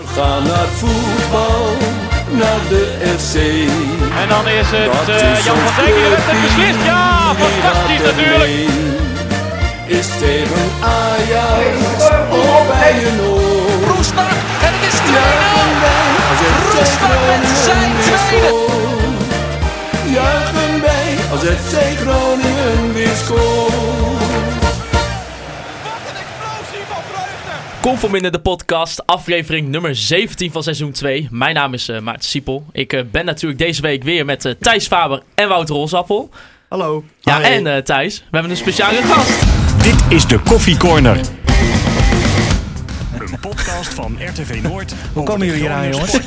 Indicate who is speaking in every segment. Speaker 1: Van het voetbal naar de FC.
Speaker 2: En dan is het
Speaker 1: Dat
Speaker 2: eh,
Speaker 1: is
Speaker 2: Jan
Speaker 1: ons
Speaker 2: van Dijk die de wedstrijd
Speaker 1: clubje,
Speaker 2: beslist. Ja,
Speaker 1: wie
Speaker 2: fantastisch
Speaker 1: gaat er
Speaker 2: natuurlijk.
Speaker 1: mee? Is tegen Ajax of bij een oor.
Speaker 3: Roestak en het is 2-0.
Speaker 1: Als het
Speaker 3: Roestak met zijn tweede.
Speaker 1: Juichen wij als FC Groningen weer scoort.
Speaker 4: Conform in de podcast, aflevering nummer 17 van seizoen 2. Mijn naam is eh Maarten Siepel. Ik eh, ben natuurlijk deze week weer met eh, Thijs Faber en Wouter Rosappel.
Speaker 5: Hallo.
Speaker 4: Ja,
Speaker 5: Hi.
Speaker 4: en eh, Thijs, we hebben een speciale gast.
Speaker 6: Dit is de Koffie Corner. Een podcast van RTV Noord. Hoe
Speaker 5: komen jullie hier aan, jongens?
Speaker 7: Eh,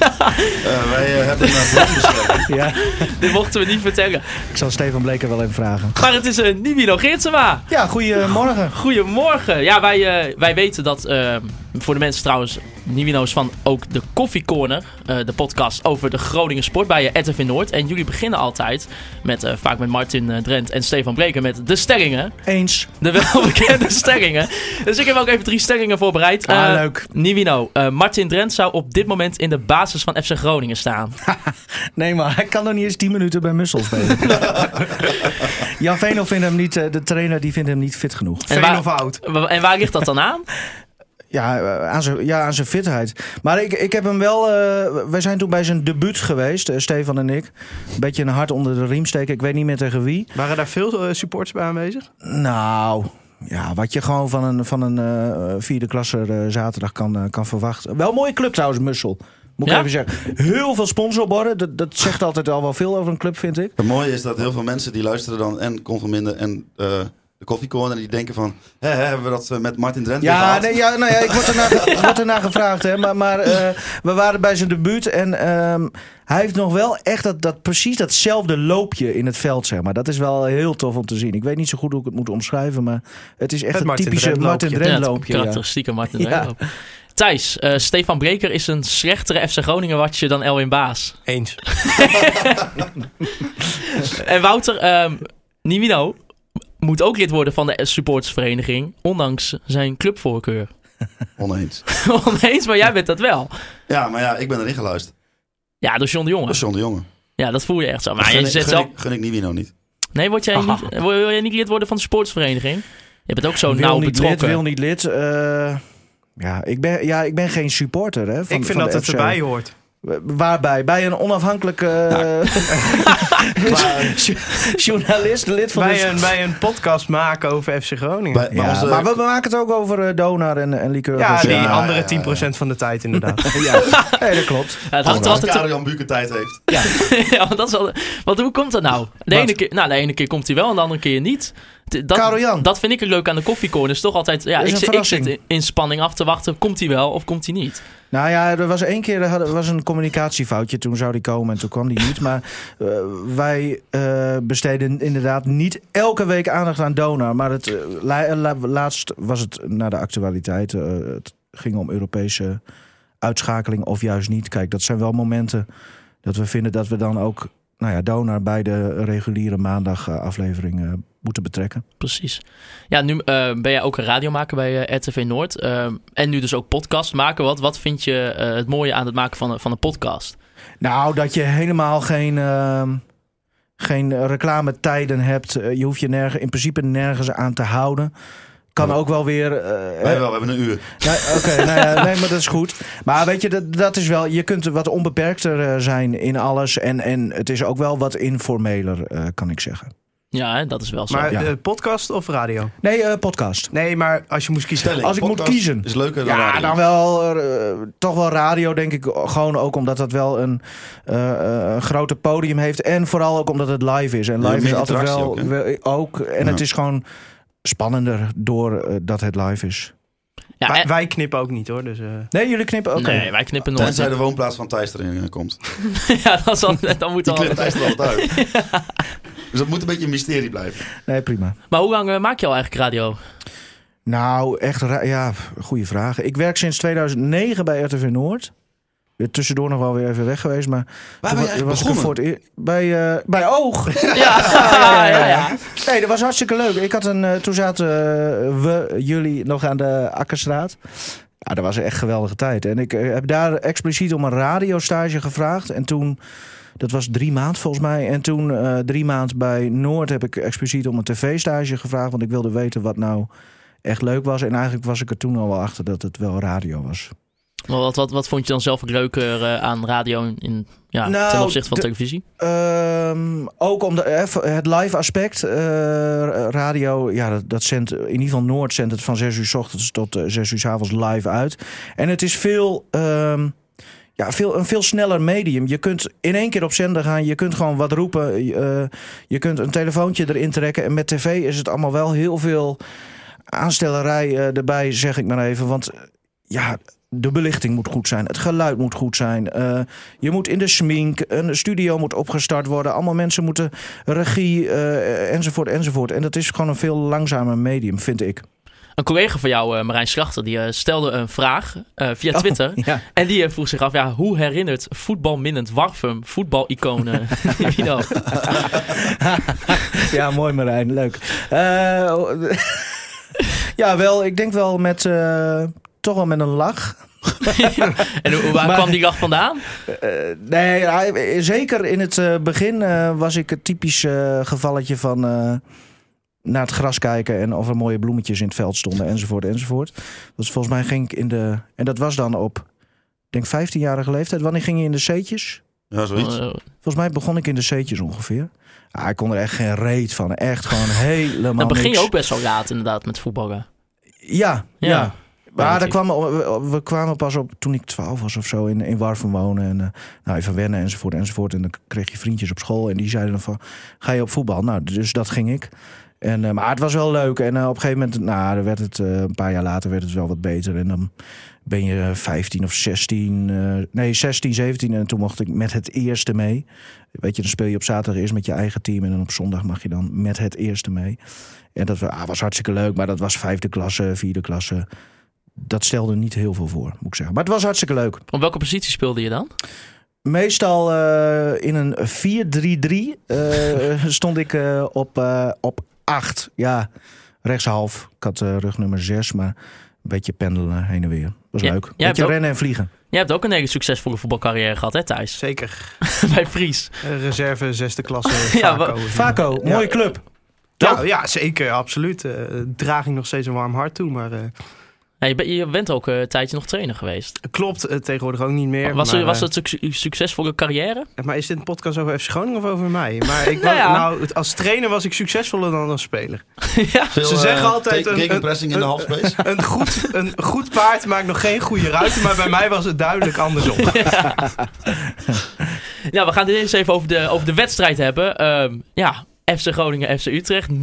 Speaker 7: wij eh, hebben een plan besproken.
Speaker 5: Ja,
Speaker 4: Dit mochten we niet vertellen.
Speaker 5: ik zal Stefan Bleker wel even vragen.
Speaker 4: Maar het is eh Nibino Geertsema.
Speaker 5: Ja, goedemorgen.
Speaker 4: Goedemorgen. Ja, wij, eh, wij weten dat, eh, voor de mensen trouwens, Nibino's van ook de Koffie Corner, eh, de podcast over de Groningen sport bij eh, RTV Noord. En jullie beginnen altijd, met, eh, vaak met Martin eh, Drent en Stefan Breker, met de stellingen.
Speaker 5: Eens.
Speaker 4: De welbekende stellingen. Dus ik heb ook even drie stellingen voorbereid.
Speaker 5: Ah,
Speaker 4: Eh,
Speaker 5: leuk.
Speaker 4: Nivino, eh, Martin Drent zou op dit moment in de basis van FC Groningen staan.
Speaker 5: Nee, maar hij kan nog niet eens 10 minuten bij Mussel spelen. Jan Veenhoff vindt hem niet, eh, de trainer die vindt hem niet fit genoeg.
Speaker 4: waar,
Speaker 8: of oud?
Speaker 4: wa- en waar ligt dat dan aan?
Speaker 5: Ja, eh, aan zijn, ja, aan zijn fitheid. Maar ik, ik heb hem wel. eh, wij zijn toen bij zijn debuut geweest, eh, Stefan en ik. Een beetje een hart onder de riem steken. Ik weet niet meer tegen wie.
Speaker 8: Waren daar veel eh, supporters bij aanwezig?
Speaker 5: Nou, ja, wat je gewoon van een, van een eh, vierde klasse eh, zaterdag kan, eh, kan verwachten. Wel een mooie club trouwens, Mussel. Moet
Speaker 4: Ja?
Speaker 5: ik even zeggen. Heel veel sponsorborden. Dat, dat zegt altijd al wel veel over een club, vind ik.
Speaker 7: Het mooie is dat heel veel mensen die luisteren dan en Conforminder en eh de koffiecorner, die denken van, hè, hè, hebben we dat eh, met Martin Drent weer
Speaker 5: Ja,
Speaker 7: gehad?
Speaker 5: nee, ja, nou ja, ik word ernaar, ik word ernaar gevraagd. Hè, maar maar eh, we waren bij zijn debuut. En ehm, hij heeft nog wel echt dat, dat, precies datzelfde loopje in het veld. Zeg maar. Dat is wel heel tof om te zien. Ik weet niet zo goed hoe ik het moet omschrijven. Maar het is echt
Speaker 8: Het
Speaker 5: een
Speaker 8: Martin
Speaker 5: typische
Speaker 8: Drent
Speaker 5: Martin
Speaker 8: loopje.
Speaker 5: Drent
Speaker 4: Ja,
Speaker 5: loopje. ja.
Speaker 4: Karakteristieke Martin
Speaker 5: Ja.
Speaker 4: Drent. Thijs, eh, Stefan Breker is een slechtere FC Groningen watje dan Elwin Baas.
Speaker 8: Eens.
Speaker 4: En Wouter, ehm Nivino moet ook lid worden van de supportersvereniging, ondanks zijn clubvoorkeur.
Speaker 7: Oneens.
Speaker 4: Oneens, maar jij bent dat wel.
Speaker 7: Ja, maar ja, ik ben erin geluisterd.
Speaker 4: Ja, door John de
Speaker 7: Dat
Speaker 4: Jonge.
Speaker 7: is John de Jonge.
Speaker 4: Ja, dat voel je echt zo. Maar
Speaker 7: gun,
Speaker 4: Ah, je
Speaker 7: ik-
Speaker 4: zet
Speaker 7: gun,
Speaker 4: zelf...
Speaker 7: ik, gun ik Nivino niet.
Speaker 4: Nee, word jij niet, wil, wil jij niet lid worden van de sportsvereniging? Je bent ook zo nauw
Speaker 5: niet
Speaker 4: betrokken.
Speaker 5: lid, wil niet lid. eh, ja, ik ben, ja, ik ben geen supporter. Hè, van,
Speaker 8: ik
Speaker 5: van
Speaker 8: vind dat
Speaker 5: de
Speaker 8: het
Speaker 5: FC.
Speaker 8: erbij hoort.
Speaker 5: Waarbij? Bij een onafhankelijke eh, journalist, lid van de...
Speaker 8: Bij een, bij een podcast maken over FC Groningen.
Speaker 7: Bij, bij
Speaker 5: Ja,
Speaker 7: onze-
Speaker 5: maar we maken het ook over eh, Donar en, en Liqueur. Dus-
Speaker 8: ja, die
Speaker 7: eh, ja, ja,
Speaker 8: andere
Speaker 7: ja.
Speaker 8: 10% van de tijd inderdaad.
Speaker 5: Nee, dat klopt.
Speaker 4: Ja, het hangt er
Speaker 7: als
Speaker 4: altijd...
Speaker 7: Karel Jan Buken tijd heeft.
Speaker 4: ja, want dat is wel... Want hoe komt dat nou? De ene,
Speaker 5: Wat?
Speaker 4: keer, nou, de ene keer komt hij wel en de andere keer niet. D- Dat,
Speaker 5: Karel Jan.
Speaker 4: dat vind ik het leuk aan de koffiecorner. Is toch altijd... Ja,
Speaker 5: Dat is
Speaker 4: ik,
Speaker 5: een
Speaker 4: zit- ik zit in,
Speaker 5: verrassing.
Speaker 4: in spanning af te wachten. Komt hij wel of komt hij niet?
Speaker 5: Nou ja, er was één keer er hadden- was een communicatiefoutje. Toen zou die komen en toen kwam die niet. Maar eh, wij eh, besteden inderdaad niet elke week aandacht aan Donar. Maar het, eh, la- la- laatst was het naar de actualiteit. eh, het ging om Europese uitschakeling of juist niet. Kijk, dat zijn wel momenten dat we vinden dat we dan ook... Nou ja, Donar bij de reguliere maandag eh, aflevering eh, moeten betrekken.
Speaker 4: Precies. Ja, nu eh, ben jij ook een radiomaker bij eh, RTV Noord. eh, en nu dus ook podcast maken. Wat, wat vind je eh, het mooie aan het maken van, een- van een podcast?
Speaker 5: Nou, dat je helemaal geen, ehm geen reclametijden hebt. Eh, Je hoeft je nerg- in principe nergens aan te houden. Kan ook wel weer. eh,
Speaker 7: Wij wel, we hebben een uur.
Speaker 5: Nee, Oké, nou ja, nee, maar dat is goed. Maar weet je, dat, dat is wel. Je kunt wat onbeperkter eh, zijn in alles. En, en het is ook wel wat informeler, eh, kan ik zeggen.
Speaker 4: Ja, hè, dat is wel zo.
Speaker 8: maar
Speaker 5: ja.
Speaker 8: de podcast of radio?
Speaker 5: Nee, eh, podcast.
Speaker 8: Nee, maar als je moest kiezen.
Speaker 7: Stelling,
Speaker 5: Als ik moet
Speaker 7: podcast
Speaker 5: kiezen.
Speaker 7: Is leuker dan
Speaker 5: Ja,
Speaker 7: radio.
Speaker 5: dan wel. eh, toch wel radio, denk ik. Gewoon ook omdat dat wel een eh, eh, grote podium heeft. En vooral ook omdat het live is. En
Speaker 7: Ja,
Speaker 5: live
Speaker 7: meer
Speaker 5: is altijd
Speaker 7: interactie
Speaker 5: wel.
Speaker 7: ook, hè?
Speaker 5: wel- ook en
Speaker 7: Ja.
Speaker 5: het is gewoon spannender doordat dat het live is.
Speaker 4: ja,
Speaker 8: Wij,
Speaker 2: eh.
Speaker 4: en-
Speaker 8: wij knippen ook niet hoor. Dus, eh,
Speaker 5: Nee, jullie knippen? Oké.
Speaker 4: Nee, wij knippen nooit.
Speaker 7: Tenzij de woonplaats van Thijs erin eh, komt.
Speaker 4: ja, dat, zal, dat moet
Speaker 7: Die
Speaker 4: al.
Speaker 7: klimt Thijs er altijd uit. Dus dat moet een beetje een mysterie blijven.
Speaker 5: Nee, prima.
Speaker 4: Maar hoe lang eh, maak je al eigenlijk radio?
Speaker 5: Nou, echt, ra- ja, goede vraag. Ik werk sinds 2009 bij RTV Noord. Weer Tussendoor nog wel weer even weg geweest, maar... toen
Speaker 7: Waar ben
Speaker 5: wa-
Speaker 7: je eigenlijk
Speaker 5: was ik er
Speaker 7: begonnen?
Speaker 5: voor het eer- bij, eh, bij Oog.
Speaker 4: Ja, ja, ja. ja.
Speaker 5: Nee, dat was hartstikke leuk. Ik had een, eh, toen zaten eh, we, jullie, nog aan de Akkerstraat. Ja, dat was echt geweldige tijd. En ik eh, heb daar expliciet om een radiostage gevraagd. En toen, dat was drie maand volgens mij. En toen eh, drie maand bij Noord heb ik expliciet om een tv-stage gevraagd. Want ik wilde weten wat nou echt leuk was. En eigenlijk was ik er toen al wel achter dat het wel radio was.
Speaker 4: Maar Wat, wat, wat vond je dan zelf ook leuker eh, aan radio in- in, ja,
Speaker 5: Nou,
Speaker 4: ten opzichte van
Speaker 5: de-
Speaker 4: televisie?
Speaker 5: Ehm, ook om de, eh, het live aspect. eh, radio, ja, dat, dat zendt, in ieder geval Noord zendt het van 6 uur s ochtends tot eh, 6 uur s avonds live uit. En het is veel, ehm, ja, veel, een veel sneller medium. Je kunt in één keer op zender gaan, je kunt gewoon wat roepen. eh, je kunt een telefoontje erin trekken. En met tv is het allemaal wel heel veel aanstellerij eh, erbij, zeg ik maar even. Want eh, ja, de belichting moet goed zijn, het geluid moet goed zijn. eh, je moet in de smink, een studio moet opgestart worden. Allemaal mensen moeten regie, eh, enzovoort, enzovoort. En dat is gewoon een veel langzamer medium, vind ik.
Speaker 4: Een collega van jou, eh, Marijn Slachter, die eh, stelde een vraag eh, via Twitter.
Speaker 5: Ja.
Speaker 4: En die eh, vroeg zich af, ja, hoe herinnert voetbalminnend Warfum voetbaliconen Nivino?
Speaker 5: Ja, mooi Marijn, leuk. Eh, ja, wel, ik denk wel met... eh, toch wel met een lach.
Speaker 4: en hoe- waar
Speaker 5: Maar-
Speaker 4: kwam die lach vandaan?
Speaker 5: Eh, nee, hij- zeker in het eh, begin eh, was ik het typisch eh, gevalletje van... eh, naar het gras kijken en of er mooie bloemetjes in het veld stonden, enzovoort, enzovoort. Dus volgens mij ging ik in de... En dat was dan op, ik denk 15-jarige leeftijd. Wanneer ging je in de C'tjes?
Speaker 7: Ja, zoiets.
Speaker 4: Eh,
Speaker 5: Volgens mij begon ik in de C'tjes ongeveer. Ah, ik kon er echt geen reet van. Echt gewoon helemaal
Speaker 4: dan begin je
Speaker 5: niks.
Speaker 4: ook best wel laat inderdaad met voetballen.
Speaker 5: Ja, ja.
Speaker 4: Ja.
Speaker 5: Maar daar
Speaker 4: Relatief.
Speaker 5: kwamen, we, we kwamen pas op toen ik 12 was of zo in, in Warfum wonen. En eh, nou, even wennen enzovoort enzovoort. En dan kreeg je vriendjes op school en die zeiden dan van... Ga je op voetbal? Nou, dus dat ging ik. En, eh, maar het was wel leuk. En eh, op een gegeven moment, nou, dan werd het, eh, een paar jaar later werd het wel wat beter. En dan ben je eh, 15 of 16, eh, nee 16, 17. En toen mocht ik met het eerste mee. Weet je, dan speel je op zaterdag eerst met je eigen team. En dan op zondag mag je dan met het eerste mee. En dat wa- ah, was hartstikke leuk, maar dat was vijfde klasse, vierde klasse. Dat stelde niet heel veel voor, moet ik zeggen. Maar het was hartstikke leuk.
Speaker 4: Op welke positie speelde je dan?
Speaker 5: Meestal eh, in een 4-3-3 eh, stond ik eh, op, eh, op 8. Ja, rechtshalf. Ik had eh, rug nummer 6, maar een beetje pendelen heen en weer. Was
Speaker 4: Ja,
Speaker 5: leuk.
Speaker 4: jij hebt
Speaker 5: Beetje
Speaker 4: ook-
Speaker 5: rennen en vliegen.
Speaker 4: Jij hebt ook een hele succesvolle voetbalcarrière gehad, hè Thijs?
Speaker 8: Zeker.
Speaker 4: Bij Fries.
Speaker 8: Eh, Reserve, zesde klasse,
Speaker 4: Ja,
Speaker 8: Vaco.
Speaker 5: Vaco, mooie club.
Speaker 8: Ja, ja, zeker, absoluut. Eh, draag ik nog steeds een warm hart toe, maar... eh,
Speaker 4: Ja, je, bent- je bent ook eh, een tijdje nog trainer geweest.
Speaker 8: Klopt, eh, tegenwoordig ook niet meer.
Speaker 4: was,
Speaker 8: maar,
Speaker 4: er, was
Speaker 8: eh,
Speaker 4: dat een suc- een succesvolle carrière?
Speaker 8: Maar is dit een podcast over FC Groningen of over mij? Maar ik
Speaker 4: Nou
Speaker 8: was,
Speaker 4: ja.
Speaker 8: nou, het- als trainer was ik succesvoller dan als speler.
Speaker 4: ja.
Speaker 7: Veel,
Speaker 8: Ze
Speaker 7: eh,
Speaker 8: zeggen altijd
Speaker 7: take-
Speaker 8: een-
Speaker 7: taking
Speaker 8: een-
Speaker 7: pressing in de
Speaker 8: een-
Speaker 7: halfspace.
Speaker 8: Een goed, een goed paard maakt nog geen goede ruiten, maar bij mij was het duidelijk andersom.
Speaker 4: ja, we gaan het eens even over de, over de wedstrijd hebben. Ehm, ja, FC Groningen, FC Utrecht. 0-1.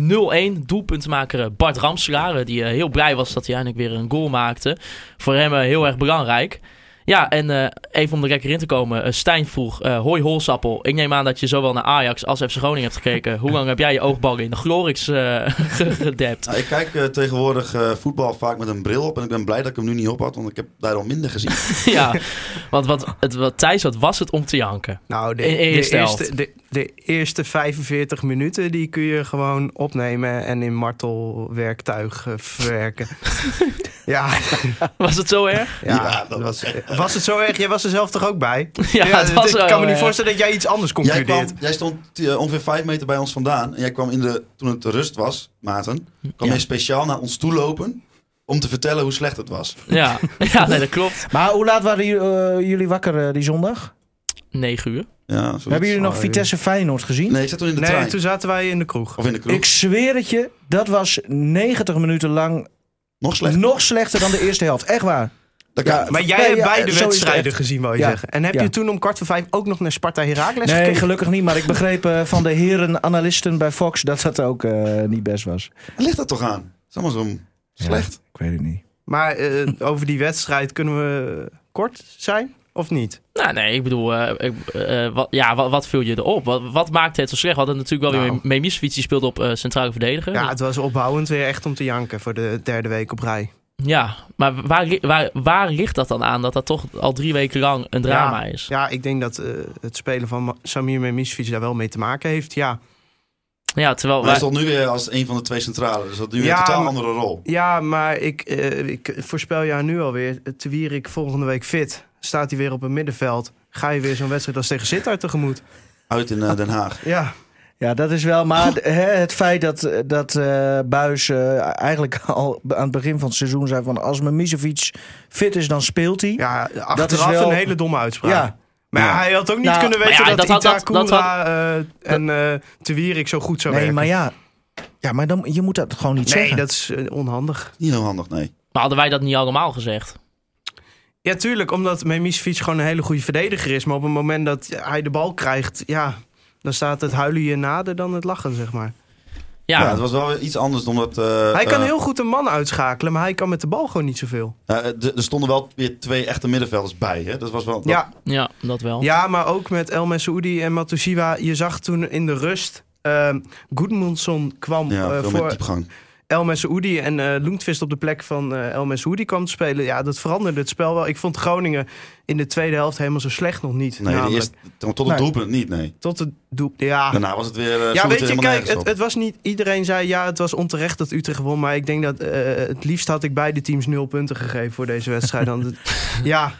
Speaker 4: Doelpuntmaker Bart Ramselaar. eh, Die eh, heel blij was dat hij eindelijk weer een goal maakte. Voor hem eh, heel erg belangrijk. Ja, en eh, even om er lekker in te komen. eh, Stijn vroeg, eh, hoi Holsappel. Ik neem aan dat je zowel naar Ajax als FC Groningen hebt gekeken. Hoe lang heb jij je oogballen in de Glorix eh, ge- gedept?
Speaker 7: Nou, ik kijk eh, tegenwoordig eh, voetbal vaak met een bril op. En ik ben blij dat ik hem nu niet op had, want ik heb daar al minder gezien.
Speaker 4: ja, want wat, het, wat Thijs, wat was het om te janken?
Speaker 8: Nou, de,
Speaker 4: In
Speaker 8: de
Speaker 4: eerste helft.
Speaker 8: eerste, de, de eerste 45 minuten die kun je gewoon opnemen en in martelwerktuig eh, verwerken. ja,
Speaker 4: Was het zo erg?
Speaker 8: ja,
Speaker 7: Ja, dat
Speaker 8: dat
Speaker 7: was-
Speaker 8: was, was het zo erg? Jij was er zelf toch ook bij?
Speaker 4: Ja, het was
Speaker 8: dit-
Speaker 4: wel
Speaker 8: ik kan me niet
Speaker 4: erg.
Speaker 8: voorstellen dat jij iets anders
Speaker 7: Jij,
Speaker 8: concludeert.
Speaker 7: kwam, jij stond eh, ongeveer vijf meter bij ons vandaan. En jij kwam in de, toen het rust was, Maarten, kwam
Speaker 4: Ja.
Speaker 7: jij speciaal naar ons toe lopen om te vertellen hoe slecht het was.
Speaker 4: Ja, ja nee, dat klopt.
Speaker 5: Maar hoe laat waren jullie, eh, jullie wakker eh, die zondag?
Speaker 4: 9 uur.
Speaker 7: Ja, zoiets.
Speaker 5: Hebben jullie nog
Speaker 8: Oh,
Speaker 5: Vitesse Feyenoord gezien?
Speaker 7: Nee, ik zat toen in de
Speaker 8: nee,
Speaker 7: trein.
Speaker 8: toen zaten wij in de kroeg.
Speaker 7: Of in de kroeg.
Speaker 5: Ik zweer het je, dat was 90 minuten lang
Speaker 7: Nog slechter.
Speaker 5: nog slechter dan de eerste helft. Echt waar.
Speaker 7: Dat kan-
Speaker 8: Maar jij
Speaker 5: Nee,
Speaker 8: hebt
Speaker 5: ja,
Speaker 8: beide
Speaker 5: zo is het
Speaker 8: wedstrijden
Speaker 5: echt.
Speaker 8: gezien, wil je
Speaker 5: Ja,
Speaker 8: zeggen. En heb
Speaker 5: ja.
Speaker 8: je toen om kwart voor vijf ook nog naar Sparta Herakles
Speaker 5: Nee,
Speaker 8: gekeken?
Speaker 5: gelukkig niet. Maar ik begreep eh, van de heren analisten bij Fox dat dat ook eh, niet best was.
Speaker 7: Waar ligt dat toch aan? Het is allemaal zo slecht.
Speaker 5: Ik weet het niet.
Speaker 8: Maar eh, over die wedstrijd kunnen we kort zijn, of niet?
Speaker 4: Nou, nee, ik bedoel, eh, ik, eh, wat, ja, wat, wat viel je erop? Wat, wat maakte het zo slecht? We hadden natuurlijk wel
Speaker 8: Nou.
Speaker 4: weer Memisevic, die speelde op eh, centrale verdediger.
Speaker 8: Ja,
Speaker 4: Ja,
Speaker 8: het was opbouwend weer echt om te janken voor de derde week op rij.
Speaker 4: maar waar, li- waar, waar ligt dat dan aan dat dat toch al drie weken lang een drama is?
Speaker 8: Ja, ik denk dat eh, het spelen van Ma- Samir Memisfiets daar wel mee te maken heeft. Ja,
Speaker 4: Ja, terwijl
Speaker 7: Maar hij
Speaker 4: wij...
Speaker 7: stond nu weer als een van de twee centralen. Dus dat nu weer
Speaker 8: Ja,
Speaker 7: een totaal
Speaker 8: maar-
Speaker 7: andere rol.
Speaker 8: Ja, maar ik, eh, ik voorspel jou nu alweer. eh, Te Wierik volgende week fit. Staat hij weer op het middenveld. Ga je weer zo'n wedstrijd als tegen Sittard tegemoet.
Speaker 7: Uit in eh, Den Haag.
Speaker 8: Ja,
Speaker 5: Ja, dat is wel. Maar hè, het feit dat, dat eh, Buis eh, eigenlijk al aan het begin van het seizoen zei: van als Mimicevic fit is, dan speelt hij.
Speaker 8: ja achteraf
Speaker 5: wel-
Speaker 8: een hele domme uitspraak.
Speaker 5: Ja.
Speaker 8: Maar ja, hij had ook niet
Speaker 5: Nou,
Speaker 8: kunnen
Speaker 4: maar
Speaker 8: weten
Speaker 4: ja,
Speaker 8: dat,
Speaker 4: dat had- dat- dat
Speaker 8: Itakura eh, en eh Te Wierik zo goed zou
Speaker 5: nee,
Speaker 8: werken.
Speaker 5: maar ja. Ja, maar dan, je moet dat gewoon niet
Speaker 8: nee,
Speaker 5: zeggen.
Speaker 8: dat is eh, onhandig.
Speaker 7: Niet heel handig, nee.
Speaker 4: Maar hadden wij dat niet allemaal gezegd?
Speaker 8: Ja, tuurlijk, omdat Memisevic gewoon een hele goede verdediger is. Maar op het moment dat hij de bal krijgt, ja, dan staat het huilen je nader dan het lachen, zeg maar.
Speaker 4: Ja,
Speaker 7: Ja, het was wel weer iets anders dan dat... eh,
Speaker 8: Hij kan
Speaker 7: eh,
Speaker 8: heel goed een man uitschakelen, maar hij kan met de bal gewoon niet zoveel.
Speaker 7: eh, d- er stonden wel weer twee echte middenvelders bij. Hè? Dat was wel... dat-
Speaker 8: Ja,
Speaker 4: ja dat wel.
Speaker 8: Ja, maar ook met El Messoudi en Matosiwa. Je zag toen in de rust. ehm Goedmundsson kwam
Speaker 7: ja
Speaker 8: eh,
Speaker 7: veel meer
Speaker 8: voor
Speaker 7: diepgang.
Speaker 8: El Messoudi. En eh Loentvist op de plek van eh El Messoudi kwam te spelen. Ja, dat veranderde het spel wel. Ik vond Groningen in de tweede helft helemaal zo slecht nog niet.
Speaker 7: Nee, de
Speaker 8: namelijk.
Speaker 7: eerste, tot het
Speaker 5: Nee.
Speaker 7: doelpunt niet, nee.
Speaker 8: Tot het doel. Ja.
Speaker 7: Daarna was het weer... eh, sloeg
Speaker 8: Ja,
Speaker 7: het
Speaker 8: weet je,
Speaker 7: helemaal
Speaker 8: kijk,
Speaker 7: nergens
Speaker 8: het,
Speaker 7: op.
Speaker 8: het was niet. Iedereen zei ja, het was onterecht dat Utrecht won. Maar ik denk dat eh, het liefst had ik beide teams nul punten gegeven voor deze wedstrijd. dan het- ja,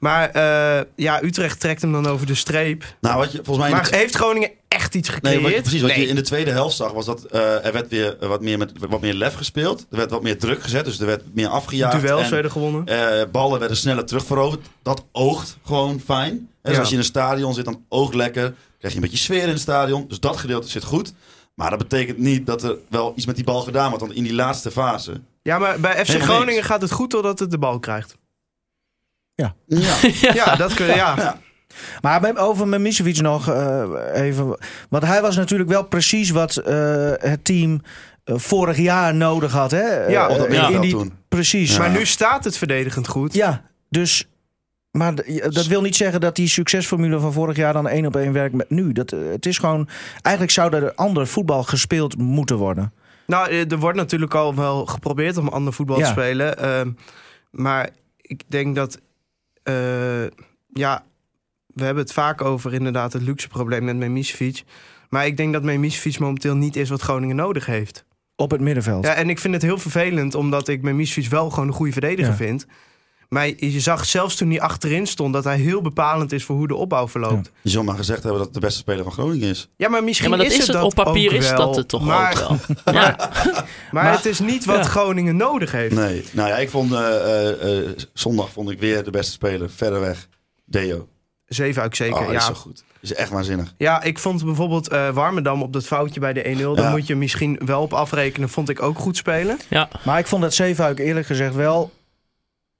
Speaker 8: maar eh, ja, Utrecht trekt hem dan over de streep.
Speaker 7: Nou, wat je, volgens mij... in de
Speaker 8: Maar heeft Groningen echt iets
Speaker 7: Nee,
Speaker 8: gecreëerd?
Speaker 7: wat je- precies. Wat
Speaker 8: Nee.
Speaker 7: je in de tweede helft zag was dat eh, er werd weer eh, wat meer, met, wat meer lef gespeeld. Er werd wat meer druk gezet, dus er werd meer afgejaagd.
Speaker 8: Duels
Speaker 7: en,
Speaker 8: werden gewonnen.
Speaker 7: eh, ballen werden sneller terugveroverd. Dat oogt gewoon fijn. En dus
Speaker 8: Ja.
Speaker 7: als je in een stadion zit, dan oogt lekker. Krijg je een beetje sfeer in het stadion. Dus dat gedeelte zit goed. Maar dat betekent niet dat er wel iets met die bal gedaan wordt. Want in die laatste fase...
Speaker 8: Ja, maar bij FC
Speaker 7: Helemaal
Speaker 8: Groningen
Speaker 7: niks.
Speaker 8: gaat het goed totdat het de bal krijgt.
Speaker 7: Ja,
Speaker 8: Ja, dat kun je. Ja.
Speaker 5: Maar bij- over Mimicevic nog eh, even. Want hij was natuurlijk wel precies wat eh, het team eh, vorig jaar nodig had. Hè?
Speaker 8: Ja,
Speaker 5: Eh,
Speaker 7: op dat
Speaker 5: in
Speaker 7: middenveld
Speaker 5: die-
Speaker 7: toen.
Speaker 5: Precies.
Speaker 7: Ja.
Speaker 5: Ja,
Speaker 8: Maar nu staat het verdedigend goed.
Speaker 5: dus. Maar d- dat wil niet zeggen dat die succesformule van vorig jaar dan één op één werkt met nu. Dat, eh, het is gewoon. Eigenlijk zou er ander voetbal gespeeld moeten worden.
Speaker 8: Nou, eh, er wordt natuurlijk al wel geprobeerd om ander voetbal te
Speaker 5: Ja.
Speaker 8: spelen. ehm, maar ik denk dat. eh, ja, we hebben het vaak over inderdaad het luxe probleem met Memisevic. Maar ik denk dat Memisevic momenteel niet is wat Groningen nodig heeft.
Speaker 5: Op het middenveld.
Speaker 8: Ja, en ik vind het heel vervelend, omdat ik Memisovic wel gewoon een goede verdediger
Speaker 5: Ja.
Speaker 8: vind. Maar je zag zelfs toen hij achterin stond dat hij heel bepalend is voor hoe de opbouw verloopt. Ja,
Speaker 7: Je zou maar gezegd hebben dat het de beste speler van Groningen is.
Speaker 8: maar misschien
Speaker 4: Ja, maar dat
Speaker 8: is, het
Speaker 4: is het.
Speaker 8: dat
Speaker 4: Op papier
Speaker 8: ook
Speaker 4: is
Speaker 8: wel,
Speaker 4: dat het toch
Speaker 8: maar,
Speaker 4: ook wel. Ja.
Speaker 8: Maar,
Speaker 4: Maar-
Speaker 8: het is niet wat
Speaker 4: Ja.
Speaker 8: Groningen nodig heeft.
Speaker 7: Nee. Nou ja, ik vond eh, eh, eh, zondag vond ik weer de beste speler. Verder weg. Deo.
Speaker 8: Zeven uit zeker,
Speaker 7: oh, is
Speaker 8: ja.
Speaker 7: zo goed. Is echt waanzinnig.
Speaker 8: Ja, ik vond bijvoorbeeld eh, Warmerdam op dat foutje bij de 1-0. Daar
Speaker 7: Ja.
Speaker 8: moet je misschien wel op afrekenen. Vond ik ook goed spelen.
Speaker 5: Maar ik vond dat Zeefuik eerlijk gezegd wel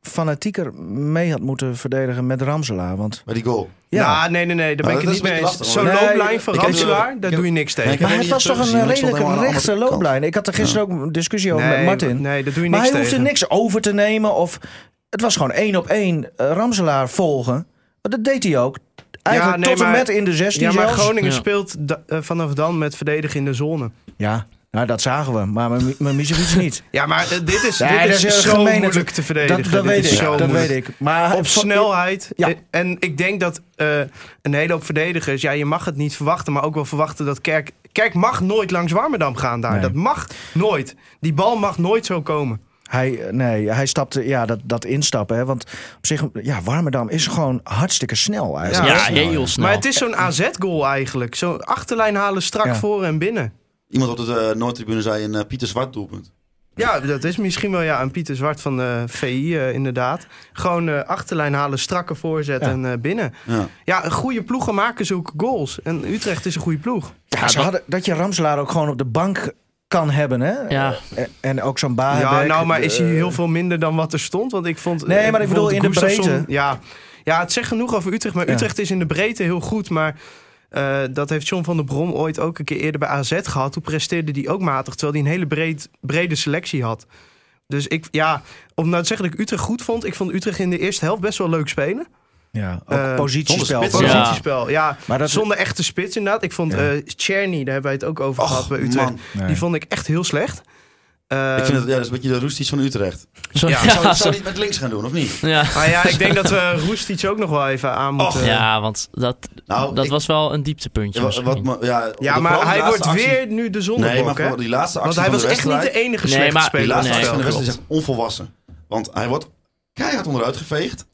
Speaker 5: fanatieker mee had moeten verdedigen met Ramselaar. Want
Speaker 7: Maar die goal.
Speaker 8: Ja,
Speaker 5: Ja.
Speaker 8: nee, nee, nee. Daar ben
Speaker 7: Nou,
Speaker 8: ik het
Speaker 7: dat is
Speaker 8: niet
Speaker 7: een
Speaker 8: mee eens.
Speaker 7: beetje
Speaker 8: Zo'n
Speaker 5: lastig, hoor. Nee,
Speaker 8: looplijn van
Speaker 7: ik heb-
Speaker 8: Ramselaar, daar
Speaker 7: ik-
Speaker 8: doe je niks tegen.
Speaker 7: Nee, ik heb
Speaker 5: Maar het
Speaker 7: niet
Speaker 5: was
Speaker 7: terug
Speaker 5: toch een
Speaker 7: gezien, want ik stond
Speaker 5: redelijke
Speaker 7: helemaal aan de
Speaker 5: rechte
Speaker 7: andere kant.
Speaker 5: loopbijn. Ik had er gisteren ook een discussie over
Speaker 8: Nee,
Speaker 5: met Martin.
Speaker 8: Nee, daar doe je
Speaker 5: maar
Speaker 8: niks
Speaker 5: hij hoefde
Speaker 8: tegen.
Speaker 5: niks over te nemen. Of, het was gewoon één op één eh, Ramselaar volgen. Maar dat deed hij ook. Eigenlijk
Speaker 8: Ja, nee,
Speaker 5: tot en
Speaker 8: maar-
Speaker 5: met in de 16
Speaker 8: Ja, maar
Speaker 5: zelfs.
Speaker 8: Groningen
Speaker 4: Ja.
Speaker 8: speelt da- eh, vanaf dan met verdedigen in de zone.
Speaker 5: Ja, nou, dat zagen we. Maar mijn- mijn Misevic niet.
Speaker 8: Ja, maar eh, dit is,
Speaker 5: Nee,
Speaker 8: dit
Speaker 5: dat
Speaker 8: is,
Speaker 5: is heel
Speaker 8: zo
Speaker 5: gemeen
Speaker 8: moeilijk
Speaker 5: natuurlijk.
Speaker 8: te verdedigen.
Speaker 5: Dat, dat,
Speaker 8: Dit
Speaker 5: weet,
Speaker 8: is
Speaker 5: ik,
Speaker 8: zo
Speaker 5: dat
Speaker 8: moeilijk.
Speaker 5: weet ik. Maar
Speaker 8: Op
Speaker 5: vo-
Speaker 8: snelheid.
Speaker 5: Ah, Ja.
Speaker 8: eh, En ik denk dat eh, een hele hoop verdedigers... Ja, je mag het niet verwachten, maar ook wel verwachten dat Kerk... Kerk mag nooit langs Warmerdam gaan daar.
Speaker 5: Nee.
Speaker 8: Dat mag nooit. Die bal mag nooit zo komen.
Speaker 5: Hij, eh, nee, hij stapte, ja, dat, dat instappen. Hè, want op zich, ja, Warmerdam is gewoon hartstikke snel
Speaker 4: Ja,
Speaker 5: eigenlijk.
Speaker 4: heel snel.
Speaker 8: Maar het is zo'n AZ-goal eigenlijk. Zo'n achterlijn halen strak
Speaker 5: Nou. Ja.
Speaker 8: voor en binnen.
Speaker 7: Iemand op de eh, Noordtribune zei een eh, Pieter Zwart doelpunt.
Speaker 8: Ja, dat is misschien wel ja, een Pieter Zwart van de VI eh, inderdaad. Gewoon eh, achterlijn halen, strakke voorzet
Speaker 5: Ja.
Speaker 8: en eh, binnen.
Speaker 7: Ja.
Speaker 8: Ja, goede ploegen maken zulke goals. En Utrecht is een goede ploeg.
Speaker 5: Ja, ze hadden- dat je Ramselaar ook gewoon op de bank kan hebben, hè?
Speaker 4: Ja.
Speaker 5: Eh, En, ook zo'n baan.
Speaker 8: Ja, nou, maar is hij heel veel minder dan wat er stond? Want ik vond...
Speaker 5: Eh. Nee,
Speaker 8: eh,
Speaker 5: maar ik bedoel in de
Speaker 8: bijvoorbeeld
Speaker 5: breedte.
Speaker 8: Gustafsson- Ja, ja, het zegt genoeg over Utrecht. Maar
Speaker 5: Ja.
Speaker 8: Utrecht is in de breedte heel goed. Maar eh, dat heeft John van der Brom ooit ook een keer eerder bij AZ gehad. Toen presteerde hij ook matig, terwijl hij een hele breed, brede selectie had. Dus ik, ja, om nou te zeggen dat ik Utrecht goed vond. Ik vond Utrecht in de eerste helft best wel leuk spelen.
Speaker 5: Ja, ook
Speaker 8: Eh,
Speaker 5: positiespel.
Speaker 7: zonder
Speaker 4: spits.
Speaker 5: Ja.
Speaker 8: Positiespel, ja.
Speaker 5: Maar dat-
Speaker 8: Zonder echte spits inderdaad. Ik vond
Speaker 5: Ja.
Speaker 8: eh Czerny, daar hebben wij het ook over
Speaker 7: Och,
Speaker 8: gehad bij Utrecht.
Speaker 7: man.
Speaker 5: Nee.
Speaker 8: Die vond ik echt heel slecht. Eh,
Speaker 7: ik vind het, ja, dat is een beetje de roesties van Utrecht.
Speaker 4: Zo-
Speaker 8: Ja,
Speaker 4: ja,
Speaker 7: Zou, zou
Speaker 4: zo-
Speaker 7: die het met links gaan doen, of niet?
Speaker 4: ja.
Speaker 8: Maar Nou ja, ik denk dat we Roestic ook nog wel even aan moeten...
Speaker 4: Ja, want dat,
Speaker 7: Nou,
Speaker 4: dat
Speaker 7: ik-
Speaker 4: was wel een dieptepuntje.
Speaker 7: Ja, wat,
Speaker 4: misschien.
Speaker 7: wat me- ja,
Speaker 8: Ja,
Speaker 7: de-
Speaker 8: maar
Speaker 7: vooral die
Speaker 8: hij
Speaker 7: laatste
Speaker 8: wordt
Speaker 7: actie-
Speaker 8: weer nu de zondebok,
Speaker 7: Nee, maar
Speaker 8: hè?
Speaker 7: vooral die laatste actie
Speaker 8: Want hij
Speaker 7: van
Speaker 8: was
Speaker 7: de
Speaker 8: echt niet de
Speaker 7: wedstrijd-
Speaker 8: enige
Speaker 4: Nee,
Speaker 8: slechte
Speaker 4: maar-
Speaker 7: Die
Speaker 8: speler.
Speaker 7: laatste
Speaker 4: Nee,
Speaker 7: actie van de
Speaker 4: klopt.
Speaker 7: wedstrijd is echt onvolwassen. Want hij wordt keihard onderuit geveegd.